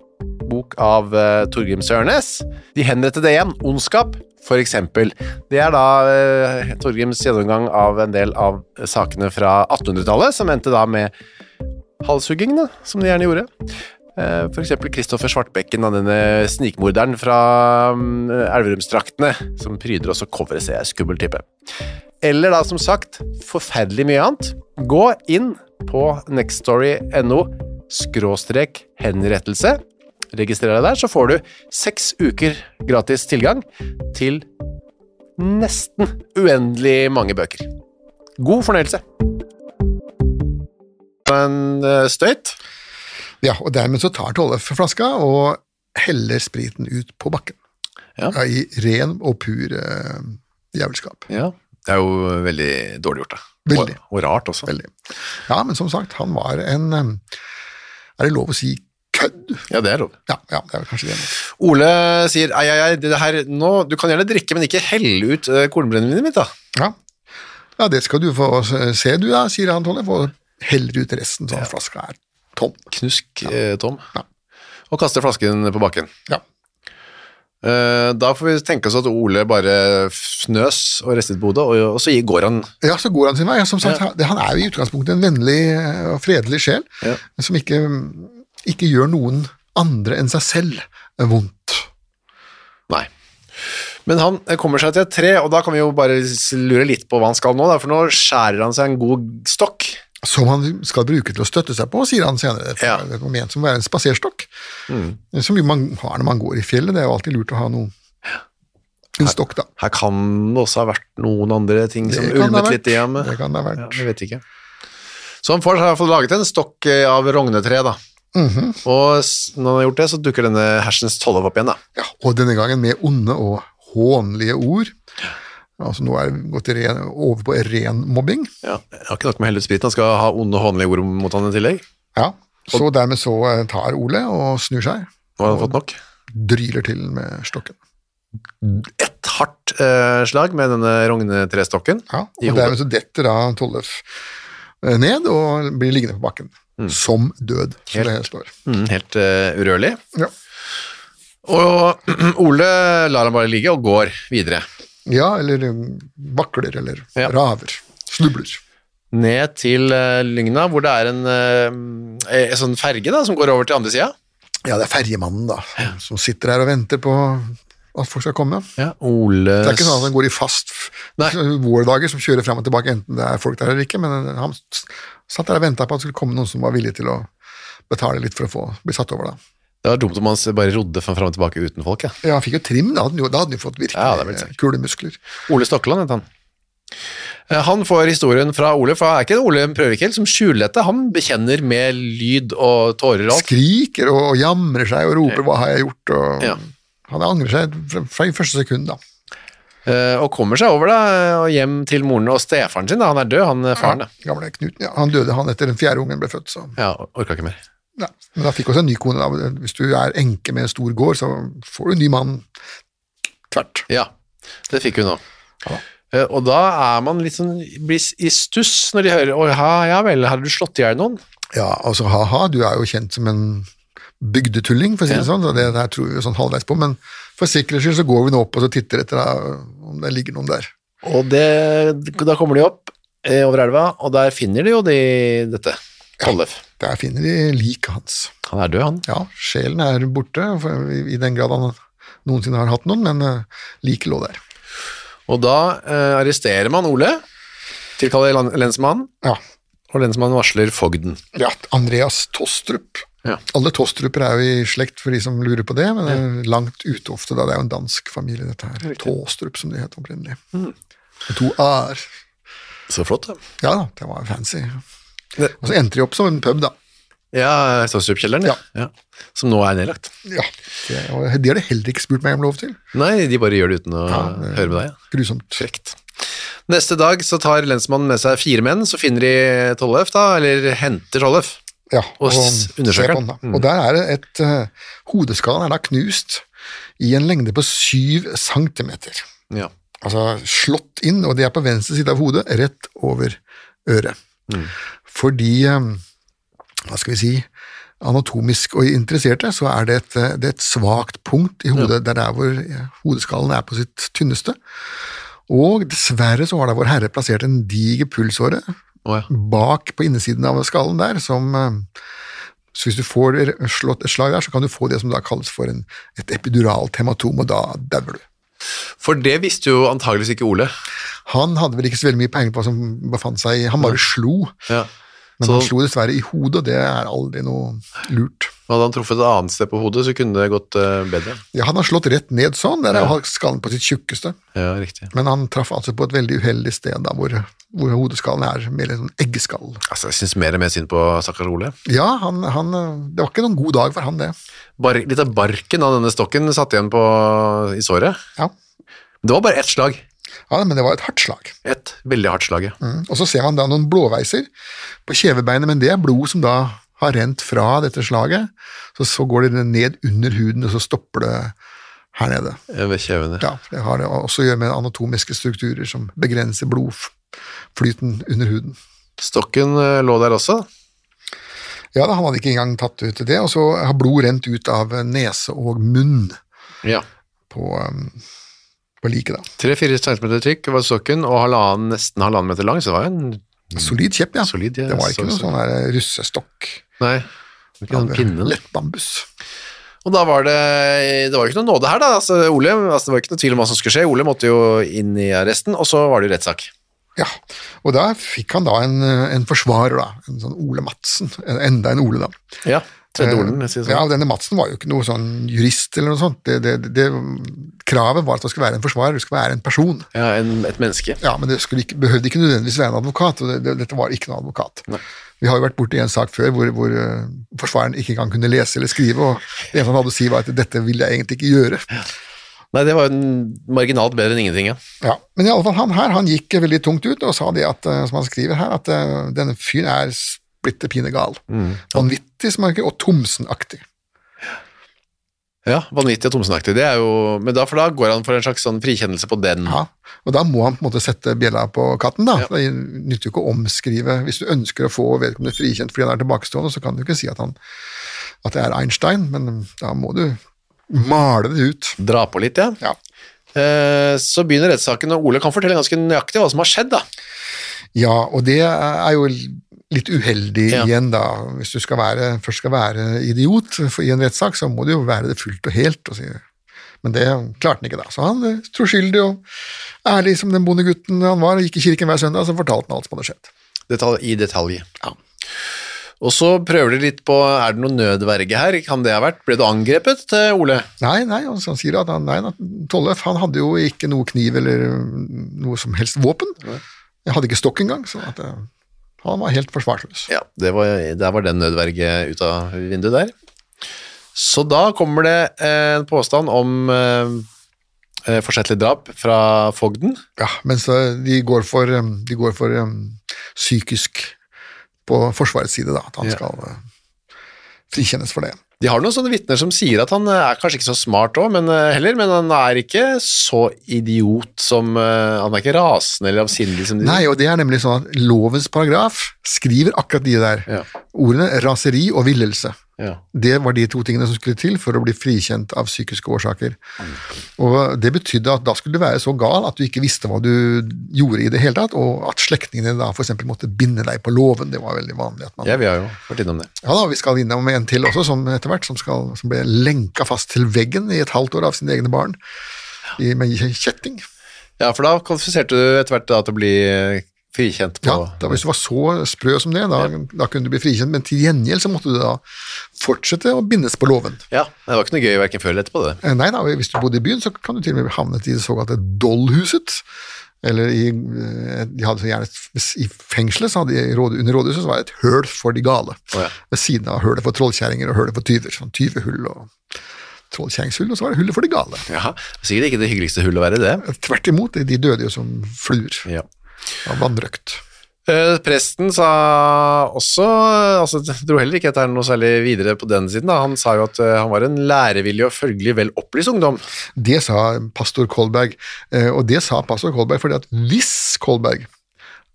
bok av uh, Torgrim Sørnes. De henrettede igjen, ondskap, for eksempel. Det er da eh, Torgrims gjennomgang av en del av sakene fra 1800-tallet, som endte da med halshuggingene, som de gjerne gjorde. Eh, For eksempel Kristoffer Svartbekken, da, denne snikmorderen fra mm, Elverumsdraktene, som pryder også coveret, ser jeg, skummel type. Eller da, som sagt, forferdelig mye annet. Gå inn på nextstory.no skråstrek henrettelse. Registrer deg der, så får du seks uker gratis tilgang til nesten uendelig mange bøker. God fornøyelse! En eh, støyt.
Ja, og dermed så tar Tolle flaska og heller spriten ut på bakken.
Ja.
Ja, I ren og pur eh, jævelskap.
Det er jo veldig dårlig gjort, da.
Veldig.
Og, og rart også.
Veldig. Ja, men som sagt, han var en eh, Er det lov å si kødd?
Ja, det er lov.
Ja, ja, det er vel kanskje det.
Ole sier ei, ei, ei, det her, nå, du kan gjerne drikke, men ikke helle ut uh, kornbrennevinet mitt, da.
Ja. ja, det skal du få se, du da, sier han Tolle. Og heller ut resten, så flaska er tom.
Knusk, eh, Tom.
Ja.
Og kaster flasken på bakken.
Ja.
Eh, da får vi tenke oss at Ole bare fnøs og restet på hodet, og, og så går han
Ja, så går han sin vei. Ja, som sagt, han- Han er jo i utgangspunktet en vennlig eh, og fredelig sjel,
Ja.
som ikke, ikke gjør noen andre enn seg selv eh, vondt.
Nei. Men han eh, kommer seg til et tre, og da kan vi jo bare s- lure litt på hva han skal nå, da, for nå skjærer han seg en god stokk.
Som han skal bruke til å støtte seg på, sier han senere.
Ja. Mm.
Det var ment som å være en spaserstokk, som jo man har når man går i fjellet. Det er jo alltid lurt å ha noe. En stokk, da.
Her kan det også ha vært noen andre ting som
Det kan det ha
ulmet
vært.
litt i ham.
Det kan det ha vært.
Ja, jeg vet ikke. Så han får, har fått laget en stokk eh, av rognetre, da.
Mhm.
Og s- når han har gjort det, så dukker denne hersens tollov opp igjen, da.
Ja, og denne gangen med onde og hånlige ord. Altså Nå er det gått i ren, over på ren mobbing.
Ja, det har ikke nok med å helle ut spriten, han skal ha onde og hånlige ord mot han i tillegg.
Ja, Så dermed så eh, tar Ole og snur seg.
Nå har han fått nok.
Dryler til med stokken.
Et hardt eh, slag med denne rognetrestokken.
Ja,
I
og
hodet.
dermed så detter da Tollef eh, ned og blir liggende på bakken. Som død, som det står.
Mm, helt eh, urørlig.
Ja.
Og Ole lar han bare ligge og går videre.
ja, eller mm, vakler, eller
Ja.
raver. Snubler.
Ned til eh, Lygna, hvor det er en eh, eh, sånn ferge da, som går over til andre sida.
Ja, det er ferjemannen, da, som sitter her og venter på at folk skal komme.
Ja, Ole
Det er ikke sånn at han går i fast f- vårdager som kjører frem og tilbake, enten det er folk der eller ikke, men eh, han s- satt der og ventet på at det skulle komme noen som var villig til å betale litt for å få bli satt over da.
Det var dumt om han s- bare rodde fra- fram og tilbake uten folk. Ja.
Ja, han fikk jo trim, da hadde han jo, da hadde han jo fått virkelig
Ja, det er blitt
eh, kule muskler.
Ole Stokkeland het han. Eh, Han får historien fra Ole, for han er ikke en Ole Prøvikeld som skjuler dette. Han bekjenner med lyd og tårer og alt.
Skriker og jamrer seg og roper 'hva har jeg gjort', og
Ja.
han angrer seg fra, fra i første sekund da.
Eh, Og kommer seg over da, eh, og hjem til moren og stefaren sin. Da. Han er død, han eh, faren. da.
Gamle Knut, ja, han døde han etter den fjerde ungen ble født, så...
Ja, orka ikke mer.
Ja, men da fikk også en ny kone. Da. Hvis du er enke med en stor gård, så får du en ny mann tvert.
Ja, det fikk hun òg. Eh, Og da er man litt sånn blir i stuss når de hører Å ja, ja vel, har du slått i hjel noen?
Ja, altså ha-ha, du er jo kjent som en bygdetulling, for å si det sånn, så det der tror vi jo sånn halvveis på, men for sikkerhets skyld så går vi nå opp og så titter etter da, om det ligger noen der.
Og det, da kommer de opp eh, over elva, og der finner de jo de dette. Tollef.
Der finner de liket hans.
Han er død, han.
Ja, sjelen er borte, for, i, i den grad han noensinne har hatt noen, men uh, liket lå der.
Og da eh, arresterer man Ole, tilkaller lan- lensmannen,
Ja,
og lensmannen varsler fogden.
ja Andreas Tostrup.
Ja.
Alle tostrupper er jo i slekt for de som lurer på det, men det er langt ute ofte, da det er jo en dansk familie, dette her. Tostrup, som de het opprinnelig.
Mm.
Med To a-er.
Så flott, da.
Ja da, det var fancy. Og så endte de opp som en pub, da.
Ja, Ståstrup-kjelleren, ja. ja. Som nå er nedlagt.
Ja, det, og de har de heller ikke spurt meg om lov til.
Nei, de bare gjør det uten å høre med deg. Ja.
Grusomt.
Frekt. Neste dag så tar lensmannen med seg fire menn, så finner de Tollef, da, eller henter Tollef.
Ja,
Og s- undersøker den. Mm.
ser på da. Og der er det et eh, Hodeskallen er da knust i en lengde på syv centimeter.
Ja.
altså slått inn, og det er på venstre side av hodet, rett over øret. Fordi, eh, hva skal vi si, anatomisk og interesserte, så er det et, eh, det er et svagt punkt i hodet, der det er hvor eh, hodeskallen er på sitt tynneste. Og dessverre så har da vår herre plassert en diger pulsåre
Å, ja.
bak på innesiden av skallen der, som eh, så hvis du får slått et slag der, så kan du få det som da kalles for en, et epiduralt hematom, og da dauer du.
For det visste jo antageligvis ikke Ole.
Han hadde vel ikke så veldig mye peiling på hva som befant seg i Han bare slo,
Ja.
men
Så
han slo dessverre i hodet, og det er aldri noe lurt.
hadde han truffet et annet sted på hodet, så kunne det gått eh, bedre.
Ja, han har slått rett ned sånn, der er jo skallen på sitt tjukkeste,
Ja, riktig.
men han traff altså på et veldig uheldig sted, da, hvor, hvor hodeskallen er mer en sånn eggeskall.
Altså, Jeg syns mer og mer synd på stakkars Ole.
Ja, han, han, det var ikke noen god dag for han, det.
Bar litt av barken av denne stokken satt igjen på, i såret.
Ja,
Det var bare ett slag.
ja men det var et hardt slag.
Et veldig hardt slag, ja.
Mm. Og så ser man da noen blåveiser på kjevebeinet, men det er blod som da har rent fra dette slaget. Så, så går det ned under huden, og så stopper det her nede.
Eh, Ved kjevene.
Ja, det har det også å gjøre med anatomiske strukturer som begrenser blodflyten under huden.
Stokken eh, lå der også.
Ja, da, Han hadde ikke engang tatt ut det, og så har blod rent ut av nese og munn
Ja.
på, um, på liket. da.
Tre-fire centimeter tykk var stokken, og halvannen, nesten halvannen meter lang, så det var jo en
Solid kjepp, ja.
Mm. Solid, ja,
det var
så-
ikke noe
så-
sånn der russestokk. eh,
Nei, det var ikke en pinne. da.
Lett bambus.
Og da var det Det var jo ikke noe nåde her, da. Altså, Ole, altså, det var ikke noe tvil om hva som skulle skje. Ole måtte jo inn i arresten, og så var det jo rettssak.
Ja, og der fikk han da en, eh, en forsvarer, da. En sånn Ole Madsen. En- Enda en Ole, da.
Ja. Tredje Olen, jeg sier
Ja,
sånn.
og denne Madsen var jo ikke noe sånn jurist eller noe sånt. Det, det, det, kravet var at det skulle være en forsvarer, det skulle være en person.
Ja, en, et menneske.
Ja, men det skulle ikke, behøvde ikke nødvendigvis være en advokat, og det, det, dette var ikke noen advokat. Vi har jo vært borti en sak før hvor, hvor eh, forsvareren ikke engang kunne lese eller skrive, og det eneste han hadde å si var at dette ville jeg egentlig ikke gjøre.
Nei, det var jo en- marginalt bedre enn ingenting, ja.
Ja, Men i alle fall, han her han gikk veldig tungt ut og sa det at, eh, som han skriver her, at eh, denne fyren er splitter pine gal. Vanvittig, som han ikke, og Thomsen-aktig.
Ja, Vanvittig og Thomsen-aktig. Det er jo Men da, for da går han for en slags sånn frikjennelse på den.
Ja, og da må han på en måte sette bjella på katten, da. Det nytter jo ikke å omskrive. Hvis du ønsker å få vedkommende frikjent fordi han er tilbakestående, så kan du ikke si at, han, at det er Einstein, men da må du male det ut.
Dra på litt, ja.
Ja,
Eh, så begynner rettssaken, og Ole kan fortelle ganske nøyaktig hva som har skjedd, da.
ja og det er jo litt uheldig
Ja.
igjen, da. Hvis du skal være, først skal være idiot for, i en rettssak, så må du jo være det fullt og helt. Og si, Men det klarte han ikke, da. Så han eh, troskyldig og ærlig som den bondegutten han var, og gikk i kirken hver søndag, så fortalte han alt som hadde skjedd.
Detal I detalj. Og så prøver de litt på er det noen nødverge her. Kan det ha vært? Ble du angrepet, eh, Ole?
Nei, nei, og så han sier at han, nei, at Tollef han hadde jo ikke noe kniv eller mm, noe som helst våpen. Jeg hadde ikke stokk engang, så at, eh, han var helt forsvarsløs.
Ja, det var, der var den nødverge ut av vinduet der. Så da kommer det eh, en påstand om eh, eh, forsettlig drap fra fogden.
Ja, mens eh, de går for, um, de går for um, psykisk på Forsvarets side, da. At han
Ja.
skal eh, frikjennes for det.
De har noen sånne vitner som sier at han eh, er kanskje ikke så smart også, men, eh, heller, men han er ikke så idiot som eh, Han er ikke rasende eller avsindig som de
Nei, og det er nemlig sånn at lovens paragraf skriver akkurat de der
Ja.
ordene raseri og villelse.
Ja.
Det var de to tingene som skulle til for å bli frikjent av psykiske årsaker. Og Det betydde at da skulle du være så gal at du ikke visste hva du gjorde i det hele tatt, og at slektningene da f.eks. måtte binde deg på låven. Det var veldig vanlig. at man...
ja, vi har jo vært innom det.
Ja da, vi skal innom en til også, som etter hvert som, skal, som ble lenka fast til veggen i et halvt år av sine egne barn i, med kjetting.
Ja, for da kvalifiserte du etter hvert da til å bli eh, frikjent på
Ja, da, Hvis du var så sprø som det, da, da kunne du bli frikjent, men til gjengjeld så måtte du da fortsette å bindes på låven.
Ja, det var ikke noe gøy verken før eller etterpå, det.
Eh, Nei da, hvis du bodde i byen, så kan du til og med bli havnet i det såkalte dollhuset. Eller i, eh, de hadde så gjerne, et- I fengselet så hadde de, råd- under rådhuset så var det et høl for de gale.
Å ja.
Ved siden av hølet for trollkjerringer og hølet for tyver. Sånn tyvehull og trollkjerringshull, og så var det hullet for de gale.
Ja, Sikkert ikke det hyggeligste hullet å være i, det.
Tvert imot, de døde jo som fluer
Ja.
av vannrøkt.
Eh, Presten sa også, eh, altså det dro heller ikke at det er noe særlig videre på den siden, da. han sa jo at eh, han var en lærevillig og følgelig vel opplyst ungdom.
Det sa pastor Kolberg, eh, og det sa pastor Kolberg fordi at hvis Kolberg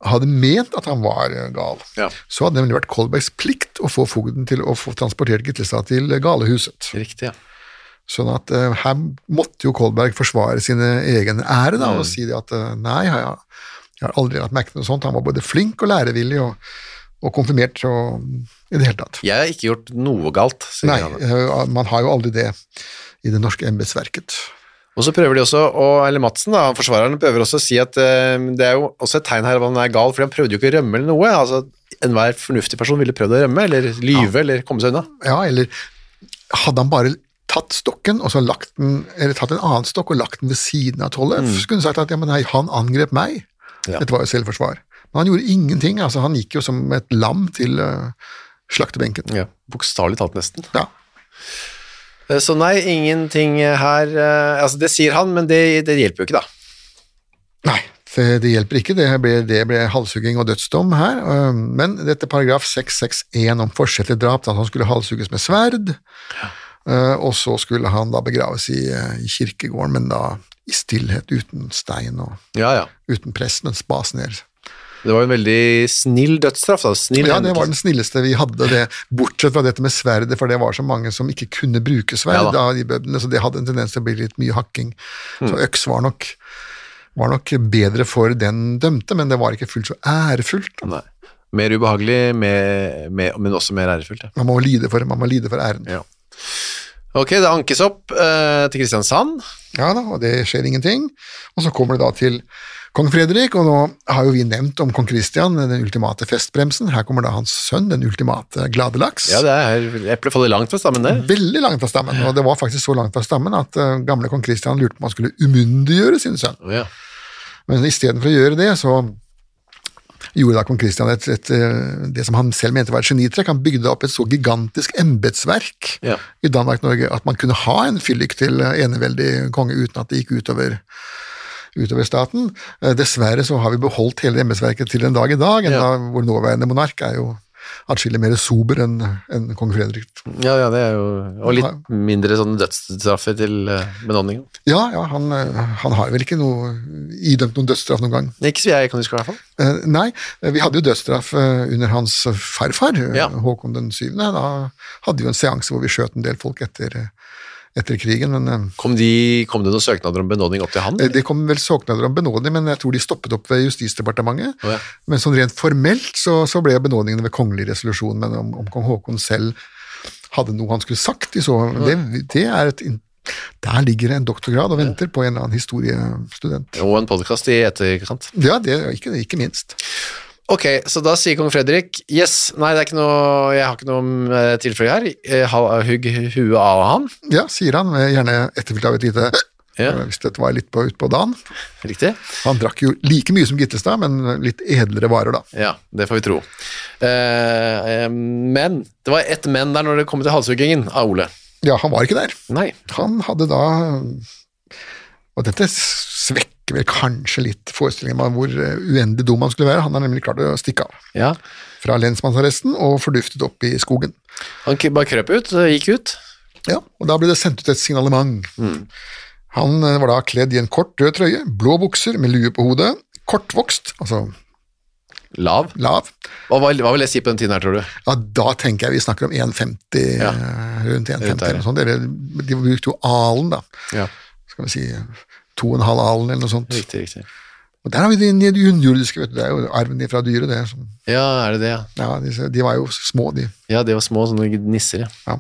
hadde ment at han var eh, gal,
Ja.
så hadde det nemlig vært Kolbergs plikt å få fogden til å få transportert Gitlestad til galehuset.
Riktig, ja.
Sånn at eh, her måtte jo Kolberg forsvare sin egen ære da, og si det at eh, nei, jeg har, jeg har aldri lagt merke til noe sånt. Han var både flink og lærevillig og, og konfirmert og i det hele tatt.
Jeg har ikke gjort noe galt, sier
Nei,
han.
eh, man har jo aldri det i det norske embetsverket.
Og så prøver de også, og, eller Madsen, da, han forsvareren, prøver også å si at eh, det er jo også et tegn her om han er gal, fordi han prøvde jo ikke å rømme eller noe. altså Enhver fornuftig person ville prøvd å rømme, eller lyve, eller komme seg unna.
Ja, eller hadde han bare tatt stokken og så lagt den, eller tatt en annen stokk og lagt den ved siden av Tollef, så kunne han sagt at ja, men nei, han angrep meg.
Ja.
Dette var jo selvforsvar. Men han gjorde ingenting. altså Han gikk jo som et lam til eh, slaktebenken.
Ja, Bokstavelig talt, nesten.
Ja.
Eh, Så nei, ingenting her eh, Altså, det sier han, men det, det hjelper jo ikke, da.
Nei, det, det hjelper ikke. Det ble, det ble halshugging og dødsdom her. eh, Men dette paragraf 661 om forsettlig drap, da han skulle halshugges med sverd, eh, og så skulle han da begraves i, eh, i kirkegården, men da i stillhet, uten stein og
Ja, ja.
uten press, men spas ned.
Det var jo en veldig snill dødsstraff, da. Snill
Ja, det
henrettelse.
var den snilleste vi hadde, det, bortsett fra dette med sverdet, for det var så mange som ikke kunne bruke sverd,
Ja da. Mm.
da, de bøndene, så det hadde en tendens til å bli litt mye hakking. Så øks var nok, var nok bedre for den dømte, men det var ikke fullt så ærefullt.
Nei. Mer ubehagelig, med, med, men også mer ærefullt. Ja.
Man må lide for, man må lide for æren.
Ja. Ok, det ankes opp eh, til Kristiansand.
Ja da, og det skjer ingenting. Og så kommer det da til kong Fredrik, og nå har jo vi nevnt om kong Kristian, den ultimate festbremsen. Her kommer da hans sønn, den ultimate gladelaks.
Ja, det er Eplet faller langt fra stammen, det.
Veldig langt fra stammen, og det var faktisk så langt fra stammen at eh, gamle kong Kristian lurte på om han skulle umyndiggjøre sin sønn.
Ja.
Men istedenfor å gjøre det, så gjorde da kong Kristian et, et, eh, det som han selv mente var et genitrekk. Han bygde opp et så gigantisk embetsverk
Ja.
i Danmark-Norge at man kunne ha en fyllik til eh, eneveldig konge uten at det gikk utover utover staten. Eh, Dessverre så har vi beholdt hele embetsverket til den dag i dag, enda
Ja.
vår nåværende monark er jo atskillig mer sober enn enn kong Fredrik.
ja, ja, det er jo Og litt mindre sånne dødsstraffer til eh, benådningen.
Ja, ja han, eh, han har vel ikke noe, idømt noen dødsstraff noen gang.
Ikke så jeg kan huske, i hvert fall.
Eh, nei, eh, vi hadde jo dødsstraff eh, under hans farfar, eh,
Ja.
Håkon den syvende. Da hadde vi jo en seanse hvor vi skjøt en del folk etter, eh, etter krigen. Men eh,
Kom, de, kom det noen søknader om benådning opp til han?
det kom vel søknader om benådning, men jeg tror de stoppet opp ved Justisdepartementet.
Å ja.
Men sånn rent formelt så, så ble benådningen ved kongelig resolusjon, men om, om kong Håkon selv hadde noe han skulle sagt i så Det, det er et in- Der ligger det en doktorgrad og venter på en eller annen historiestudent.
Og en podkast i etterkant.
Ja, det, ikke, ikke minst.
Ok, så da sier kong Fredrik yes, nei, det er ikke noe, jeg har ikke noe eh, tilføye her. Eh, ha- Hugg huet av han.
Ja, sier han, eh, gjerne etterfylt av et lite
Ja.
Hvis dette var litt på, ut på dagen.
Riktig?
Han drakk jo like mye som Gittestad, men litt edlere varer, da.
Ja, det får vi tro. Eh, eh, men det var ett men der når det kom til halshuggingen av Ole.
Ja, han var ikke der.
Nei.
Han hadde da Og dette svekker vel kanskje litt forestillingen om hvor eh, uendelig dum han skulle være. Han har nemlig klart å stikke av
Ja.
fra lensmannsarresten og forduftet opp i skogen.
Han k- bare krøp ut, eh, gikk ut.
Ja, og da ble det sendt ut et signalement. Han eh, var da kledd i en kort, rød trøye, blå bukser med lue på hodet, kortvokst, altså
Lav.
lav.
Hva, var- hva vil jeg si på den tiden her, tror du?
Ja, da tenker jeg vi snakker om 1,50,
Ja.
eh, rundt 1,50
Rundt der,
eller noe sånt. Eller, De brukte jo alen, da.
Ja,
Skal vi si to og en halv alen eller noe sånt.
Riktig, riktig.
Og der har vi de junioriske, vet du. Det er jo arven fra dyret, det. Som,
Ja, er det det, ja.
ja, disse, de var jo små, de.
Ja, det var små sånne nisser, ja.
Ja.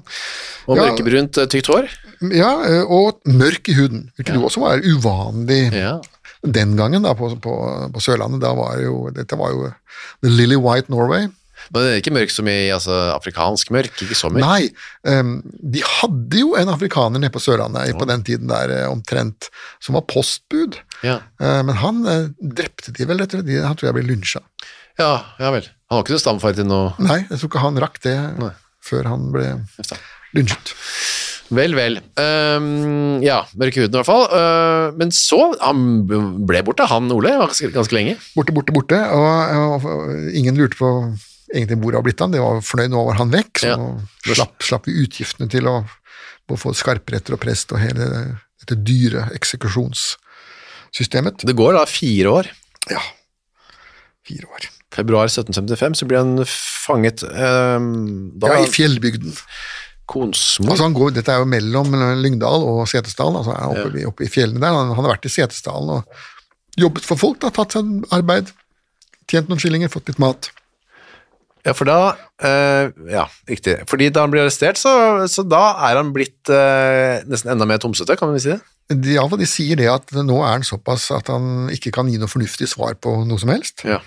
Og
Ja.
mørkebrunt eh, tykt hår.
ja, eh, og mørk i huden, hvilket jo også var uvanlig
Ja.
den gangen da, på, på, på Sørlandet. Da var jo, dette var jo The Lily White Norway.
Men det er ikke mørk som i altså, afrikansk mørk, ikke så mørk.
Nei, em, de hadde jo en afrikaner nede på Sørlandet på den tiden der eh, omtrent, som var postbud.
Ja.
Eh, Men han eh, drepte de vel, etter det. Han tror jeg ble lynsja.
Ja, ja vel. Han var ikke noe stamfar til noe
Nei, jeg tror ikke han rakk det
Nei.
før han ble lynsjet.
Vel, vel. Ehm, ja, mørk i huden i hvert fall. Ehm, men så Han ble borte, han Ole, ganske, ganske lenge.
Borte, borte, borte. Og, og, og ingen lurte på egentlig hvor det var blitt han. Det var fornøyd, nå var han vekk. Så
Ja.
nå slapp, slapp vi utgiftene til å, å få skarpretter og prest og hele dette dyre eksekusjonssystemet.
Det går da fire år.
Ja. Fire år.
Februar 1755 så blir han fanget ehm, da
Ja, I fjellbygden.
Konsmo
Altså han går, dette er jo mellom eh, Lyngdal og Setesdal, altså han er oppe, i- oppe i fjellene der. Han, han har vært i Setesdalen og jobbet for folk, da, tatt seg en arbeid, tjent noen skillinger, fått litt mat.
Ja, for da eh, Ja, riktig. Fordi da han blir arrestert, så, så da er han blitt eh, nesten enda mer tomsete, kan vi si det?
De, i alle fall, de sier det at nå er han såpass at han ikke kan gi noe fornuftig svar på noe som helst.
Ja.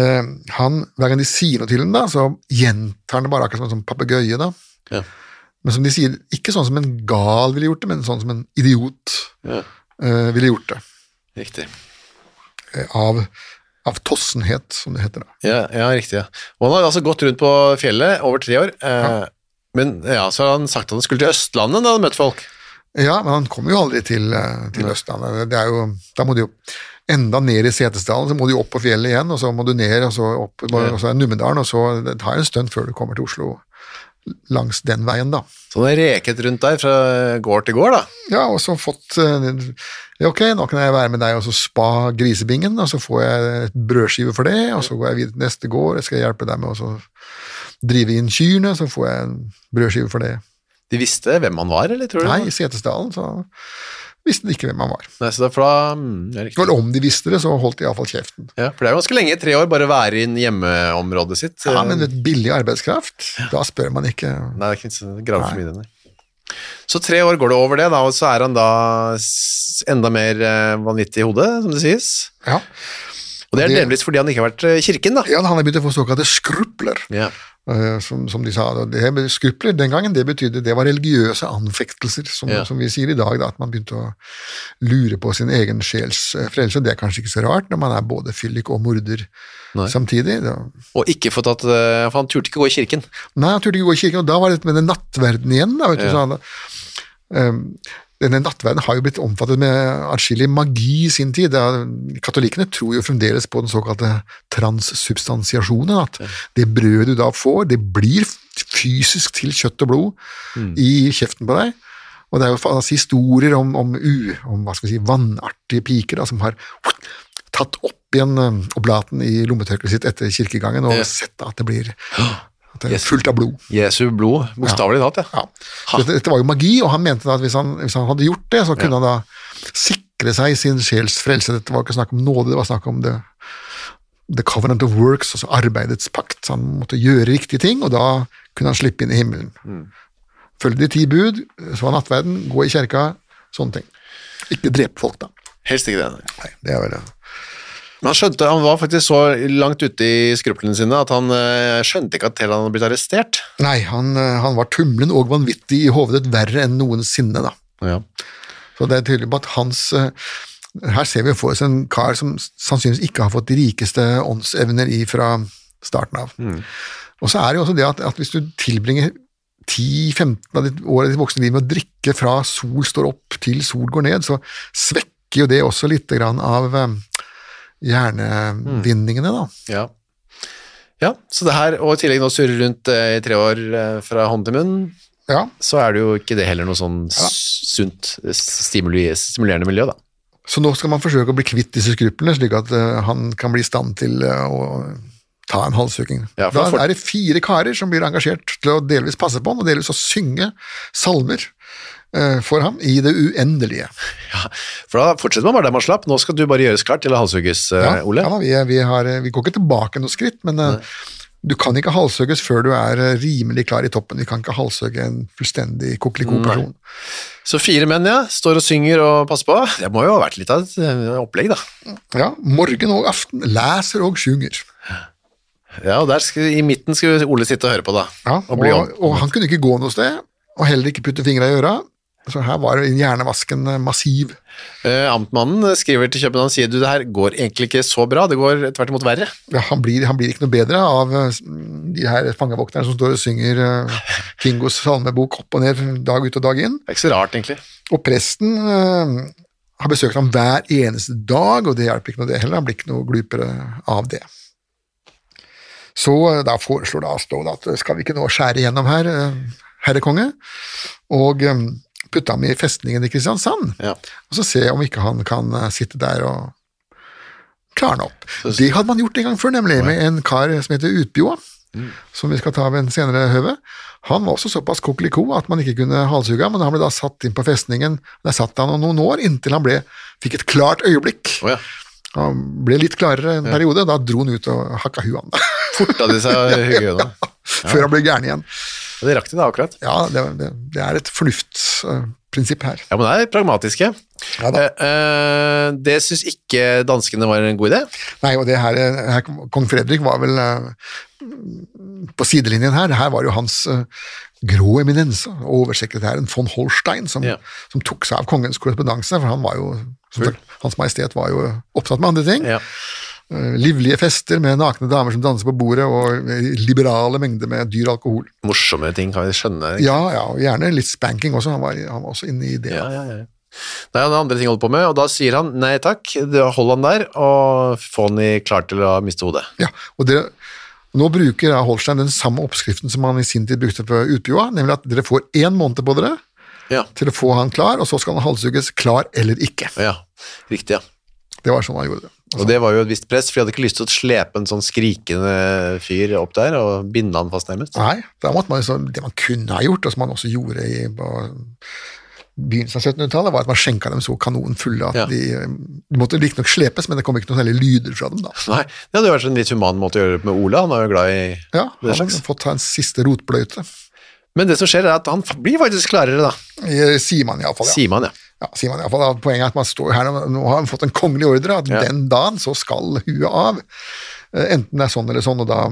Eh, han, hver gang de sier noe til ham, da, så gjentar han det bare akkurat som en sånn papegøye. da.
Ja.
Men som de sier, ikke sånn som en gal ville gjort det, men sånn som en idiot eh, ville gjort det.
Riktig.
Eh, av, av tossenhet, som det heter. da.
Ja, ja, riktig. Ja. Og han har altså gått rundt på fjellet over tre år. Eh, Men ja, så har han sagt at han skulle til Østlandet da han møtte folk.
Ja, men han kommer jo aldri til, eh, til Østlandet. Det er jo, da må du jo enda ned i Setesdalen, så må du jo opp på fjellet igjen, og så må du ned, og så opp og så er det Numedalen, og så det tar en stund før du kommer til Oslo langs den veien, da.
Så han har reket rundt der fra gård til gård, da.
Ja, og så fått eh, ja, Ok, nå kan jeg være med deg og så spa grisebingen, og så får jeg et brødskive for det, og så går jeg videre til neste gård, jeg skal hjelpe deg med å så drive inn kyrne, så får jeg en brødskive for det.
De visste hvem han var, eller tror du?
Nei, i Setesdalen så visste de ikke hvem han var.
Nei, så da, for da mm, ja, riktig.
Vel, om de visste det, så holdt de iallfall kjeften.
Ja, for det er jo ganske lenge, tre år, bare være i hjemmeområdet sitt. eh,
Ja, men vet, billig arbeidskraft, da spør man ikke
Nei, det er ikke sånn så grave for mye den der. Så tre år går det over det, da, og så er han da s- enda mer eh, vanvittig i hodet, som det sies.
Ja,
Og det er
Det-
delvis fordi han ikke har vært eh, i kirken, da.
ja han har begynt å få såkalte skrupler,
Ja.
eh, som, som de sa. Og Det med skrupler den gangen, det betydde det var religiøse anfektelser, som,
Ja.
som vi sier i dag, da, at man begynte å lure på sin egen sjels eh, frelse. Det er kanskje ikke så rart når man er både fyllik og morder samtidig. Da.
Og ikke fått tatt eh, For han turte ikke gå i kirken.
Nei, han turte ikke gå i kirken, og da var det dette med den nattverden igjen. Da, vet du, så han, ehm, denne nattverden har jo blitt omfattet med atskillig magi i sin tid. Det er- Katolikkene tror jo fremdeles på den såkalte transsubstansiasjonen, at det brødet du da får, det blir fysisk til kjøtt og blod i kjeften på deg. Og det er jo fast historier om, om, u, om hva skal vi si, vannartige piker da, som har tatt opp igjen eh, oblaten i lommetørkleet sitt etter kirkegangen og
Ja.
sett at det blir at det er fullt av blod.
Jesu blod, bokstavelig talt, ja.
Ja. Så Dette, dette var jo magi, og han mente da at hvis han, hvis han hadde gjort det, så kunne han da sikre seg sin sjels frelse. Dette var ikke snakk om nåde, det var snakk om det The Covenant of Works, altså arbeidets pakt. Så han måtte gjøre riktige ting, og da kunne han slippe inn i himmelen. Følg de ti bud, så var nattverden, gå i kjerka, sånne ting. Ikke drep folk, da.
Helst ikke det.
Nei, det er vel det.
Men han skjønte, han var faktisk så langt ute i skruplene sine at han eh, skjønte ikke at Teland hadde blitt arrestert.
Nei, han, eh, han var tumlen og vanvittig i hovedet, verre enn noensinne, da.
Ja.
Så det er tydelig på at hans eh, Her ser vi for oss en kar som sannsynligvis ikke har fått de rikeste åndsevner i fra starten av. Og så er det jo også det at, at hvis du tilbringer 10-15 av ditt år av ditt voksne liv med å drikke fra sol står opp til sol går ned, så svekker jo det også litt grann av eh, hjernevinningene, da.
Ja. ja, så det her, og i tillegg nå surre rundt eh, i tre år eh, fra hånd til munn,
Ja,
så er det jo ikke det heller noe sånn s- sunt, eh, stimuli, stimulerende miljø, da.
Så nå skal man forsøke å bli kvitt disse skruplene, slik at eh, han kan bli i stand til eh, å ta en halshuging.
Ja, for
da
han får-
er det fire karer som blir engasjert til å delvis passe på han, og delvis å synge salmer eh, for ham i det uendelige.
For da fortsetter man bare der man slapp. Nå skal du bare gjøres klar til å halshugges, eh,
Ja,
Ole.
ja da, vi, er- vi, har, eh, vi går ikke tilbake noen skritt, men eh, du kan ikke halshugges før du er eh, rimelig klar i toppen. Vi kan ikke halshugge en fullstendig kokeliko person.
Så fire menn, ja, står og synger og passer på. Det må jo ha vært litt av et eh, opplegg, da.
Ja, morgen og aften leser og synger.
Ja, og der skal, i midten skulle Ole sitte og høre på, da.
Ja,
og
og,
bli
og, han kunne ikke gå noe sted, og heller ikke putte fingra i øra. Så her var hjernevasken eh, massiv.
Eh, Amtmannen skriver til København sier du det her går egentlig ikke så bra, det går tvert imot verre.
Ja, han, blir, han blir ikke noe bedre av eh, s- de her fangevokterne som står og synger eh, Kingos salmebok opp og ned dag ut og dag inn.
Det er ikke så rart, egentlig.
Og presten eh, har besøkt ham hver eneste dag, og det hjelper ikke noe det heller. Han blir ikke noe glupere av det. Så eh, da foreslår da Aslov at eh, skal vi ikke nå skjære igjennom her, eh, herre konge, og eh, putte ham i festningen i Kristiansand,
Ja.
og så se om ikke han kan eh, sitte der og klarne opp. Det hadde man gjort en gang før, nemlig, med en kar som heter Utbjoa, som vi skal ta ved en senere høve. Han var også såpass kokeliko at man ikke kunne halshugge ham, men han ble da satt inn på festningen. Der satt han noen år, inntil han ble, fikk et klart øyeblikk.
Å ja.
Han ble litt klarere en periode, da dro han ut og hakka huet han,
Forta de seg huggene.
før han ble gæren igjen.
Ja, Det rakk de da, akkurat.
Ja, det, det, det er et fornuftsprinsipp her.
Ja, men det er pragmatiske.
Ja da.
Eh, eh, det syns ikke danskene var en god idé.
Nei, og det her, her Kong Fredrik var vel eh, på sidelinjen her. Det her var jo hans eh, grå eminense, oversekretæren von Holstein, som,
Ja.
som tok seg av kongens korrespondanse, for han var jo som sagt, Hans Majestet var jo opptatt med andre ting.
Ja.
Eh, Livlige fester med nakne damer som danser på bordet, og eh, liberale mengder med dyr alkohol.
Morsomme ting kan vi skjønne.
Ja, ja, og gjerne litt spanking også, han var, han var også inne i det.
Ja, ja, ja. Det er noen andre ting å holde på med, og da sier han nei takk, det- hold han der, og få han i klar til å miste hodet.
Ja, og dere, Nå bruker da Holstein den samme oppskriften som han i sin tid brukte på utbjoa, nemlig at dere får én måned på dere
Ja,
til å få han klar, og så skal han halshugges klar eller ikke.
ja. Riktig, ja.
Det var sånn han gjorde det.
Og det var jo et visst press, for de hadde ikke lyst til å slepe en sånn skrikende fyr opp der og binde han fast nærmest.
Nei, da måtte man liksom, Det man kunne ha gjort, og som man også gjorde i på begynnelsen av 1700-tallet, var at man skjenka dem så kanonen fulle at
Ja.
de, eh, de måtte riktignok slepes, men det kom ikke noen særlige lyder fra dem da.
Nei, det hadde jo vært en litt human måte å gjøre det på med Ola, han var jo glad i
Ja,
det
Han
slags.
hadde fått ta en siste rotbløyte,
Men det som skjer er at han f- blir faktisk klarere da,
Eh, sier man iallfall. Ja.
sier man ja.
Ja, sier man i hvert fall, da. Poenget er at man står her, og nå har man fått en kongelig ordre, at
Ja.
den dagen så skal huet av. Eh, Enten det er sånn eller sånn, og da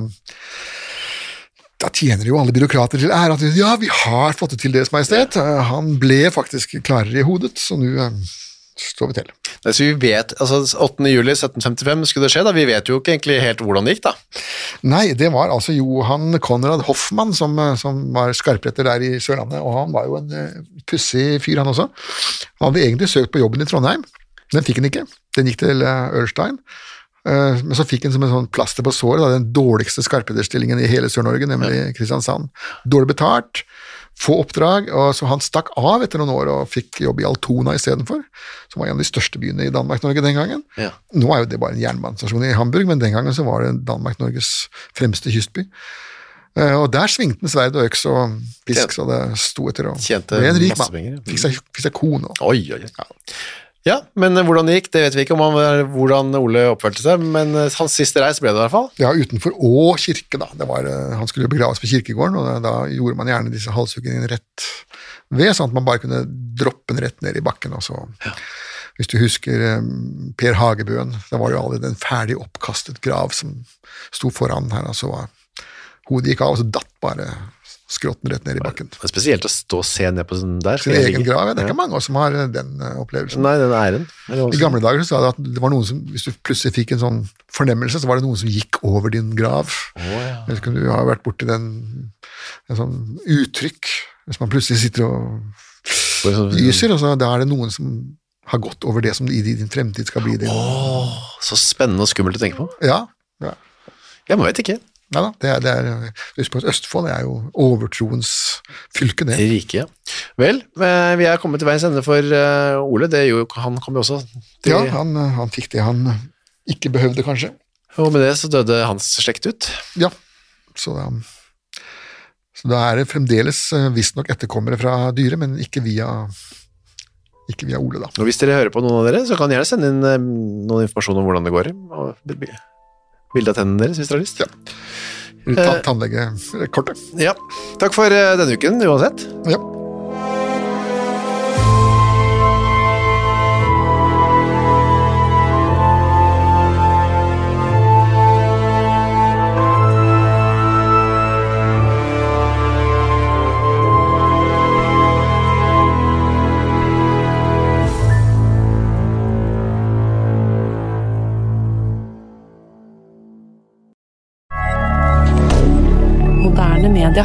da tjener jo alle byråkrater til ære at ja, vi har fått det til Deres Majestet. Eh, Han ble faktisk klarere i hodet, så nå eh, står vi til.
Nei, Så vi vet, altså 8. juli 1755 skulle det skje da, vi vet jo ikke egentlig helt hvordan det gikk da.
Nei, det var altså Johan Konrad Hoffmann som, eh, som var skarpretter der i Sørlandet, og han var jo en eh, pussig fyr, han også. Han hadde egentlig søkt på jobben i Trondheim, den fikk han ikke. Den gikk til eh, Ørstein. Eh, Men så fikk han som en sånn plaster på såret da, den dårligste skarpredderstillingen i hele Sør-Norge, nemlig Kristiansand. Dårlig betalt, få oppdrag, og så han stakk av etter noen år og fikk jobb i Altona istedenfor, som var en av de største byene i Danmark-Norge den gangen.
Ja.
Nå er jo det bare en jernbanestasjon i Hamburg, men den gangen så var det Danmark-Norges fremste kystby. Eh, Og der svingte han sverd og øks og pisk, så det sto etter. Og
Tjente
ble en rik
masse
mann.
penger, ja. Mm.
Fikk seg, fikk seg kone. og-
Oi, oi, oi. Ja, men eh, hvordan det gikk, det vet vi ikke om han, eh, hvordan Ole oppførte seg, men eh, hans siste reis ble det i hvert fall.
Ja, utenfor Å kirke, da. Det var, eh, han skulle jo begraves på kirkegården, og da, da gjorde man gjerne disse halshuggingene rett ved, sånn at man bare kunne droppe den rett ned i bakken. Og så. Hvis du husker eh, Per Hagebøen, da var det jo allerede en ferdig oppkastet grav som sto foran her, og så var hodet gikk av, og så datt bare skrotten rett ned i bakken.
Det er spesielt å stå og se ned på sånn der.
Sin
Jeg
egen
liker-
grav, ja. Det er
Ja.
ikke mange av oss som har eh, den eh, opplevelsen.
Nei, den æren. Er det
I
også-
gamle dager så sa de at det var noen som, hvis du plutselig fikk en sånn fornemmelse, så var det noen som gikk over din grav. Jeg vet ikke om du har vært borti den en sånn uttrykk, hvis man plutselig sitter og
Bare sånn-
lyser, og så da er det noen som har gått over det som i din fremtid skal bli din.
Så spennende og skummelt å tenke på.
Ja, ja.
Ja, man vet ikke.
Neida, det er, det er, husk på at Østfold er jo overtroens fylke, det.
Rike, ja. Vel, eh, vi er kommet til veiens ende for eh, Ole. Det gjorde jo han kom jo også. Til,
Ja, han, han fikk det han ikke behøvde, kanskje.
Og med det så døde hans slekt ut.
Ja, så da, så da er det fremdeles eh, visstnok etterkommere fra dyret, men ikke via, ikke via Ole, da.
Og hvis dere hører på noen av dere, så kan dere gjerne sende inn eh, noen informasjon om hvordan det går. Og b- b- bilde av tennene deres, hvis dere har lyst.
Ta,
Eh.
Tannlegekortet.
Ja. Takk for eh, denne uken, uansett.
Ja.
Moderne media.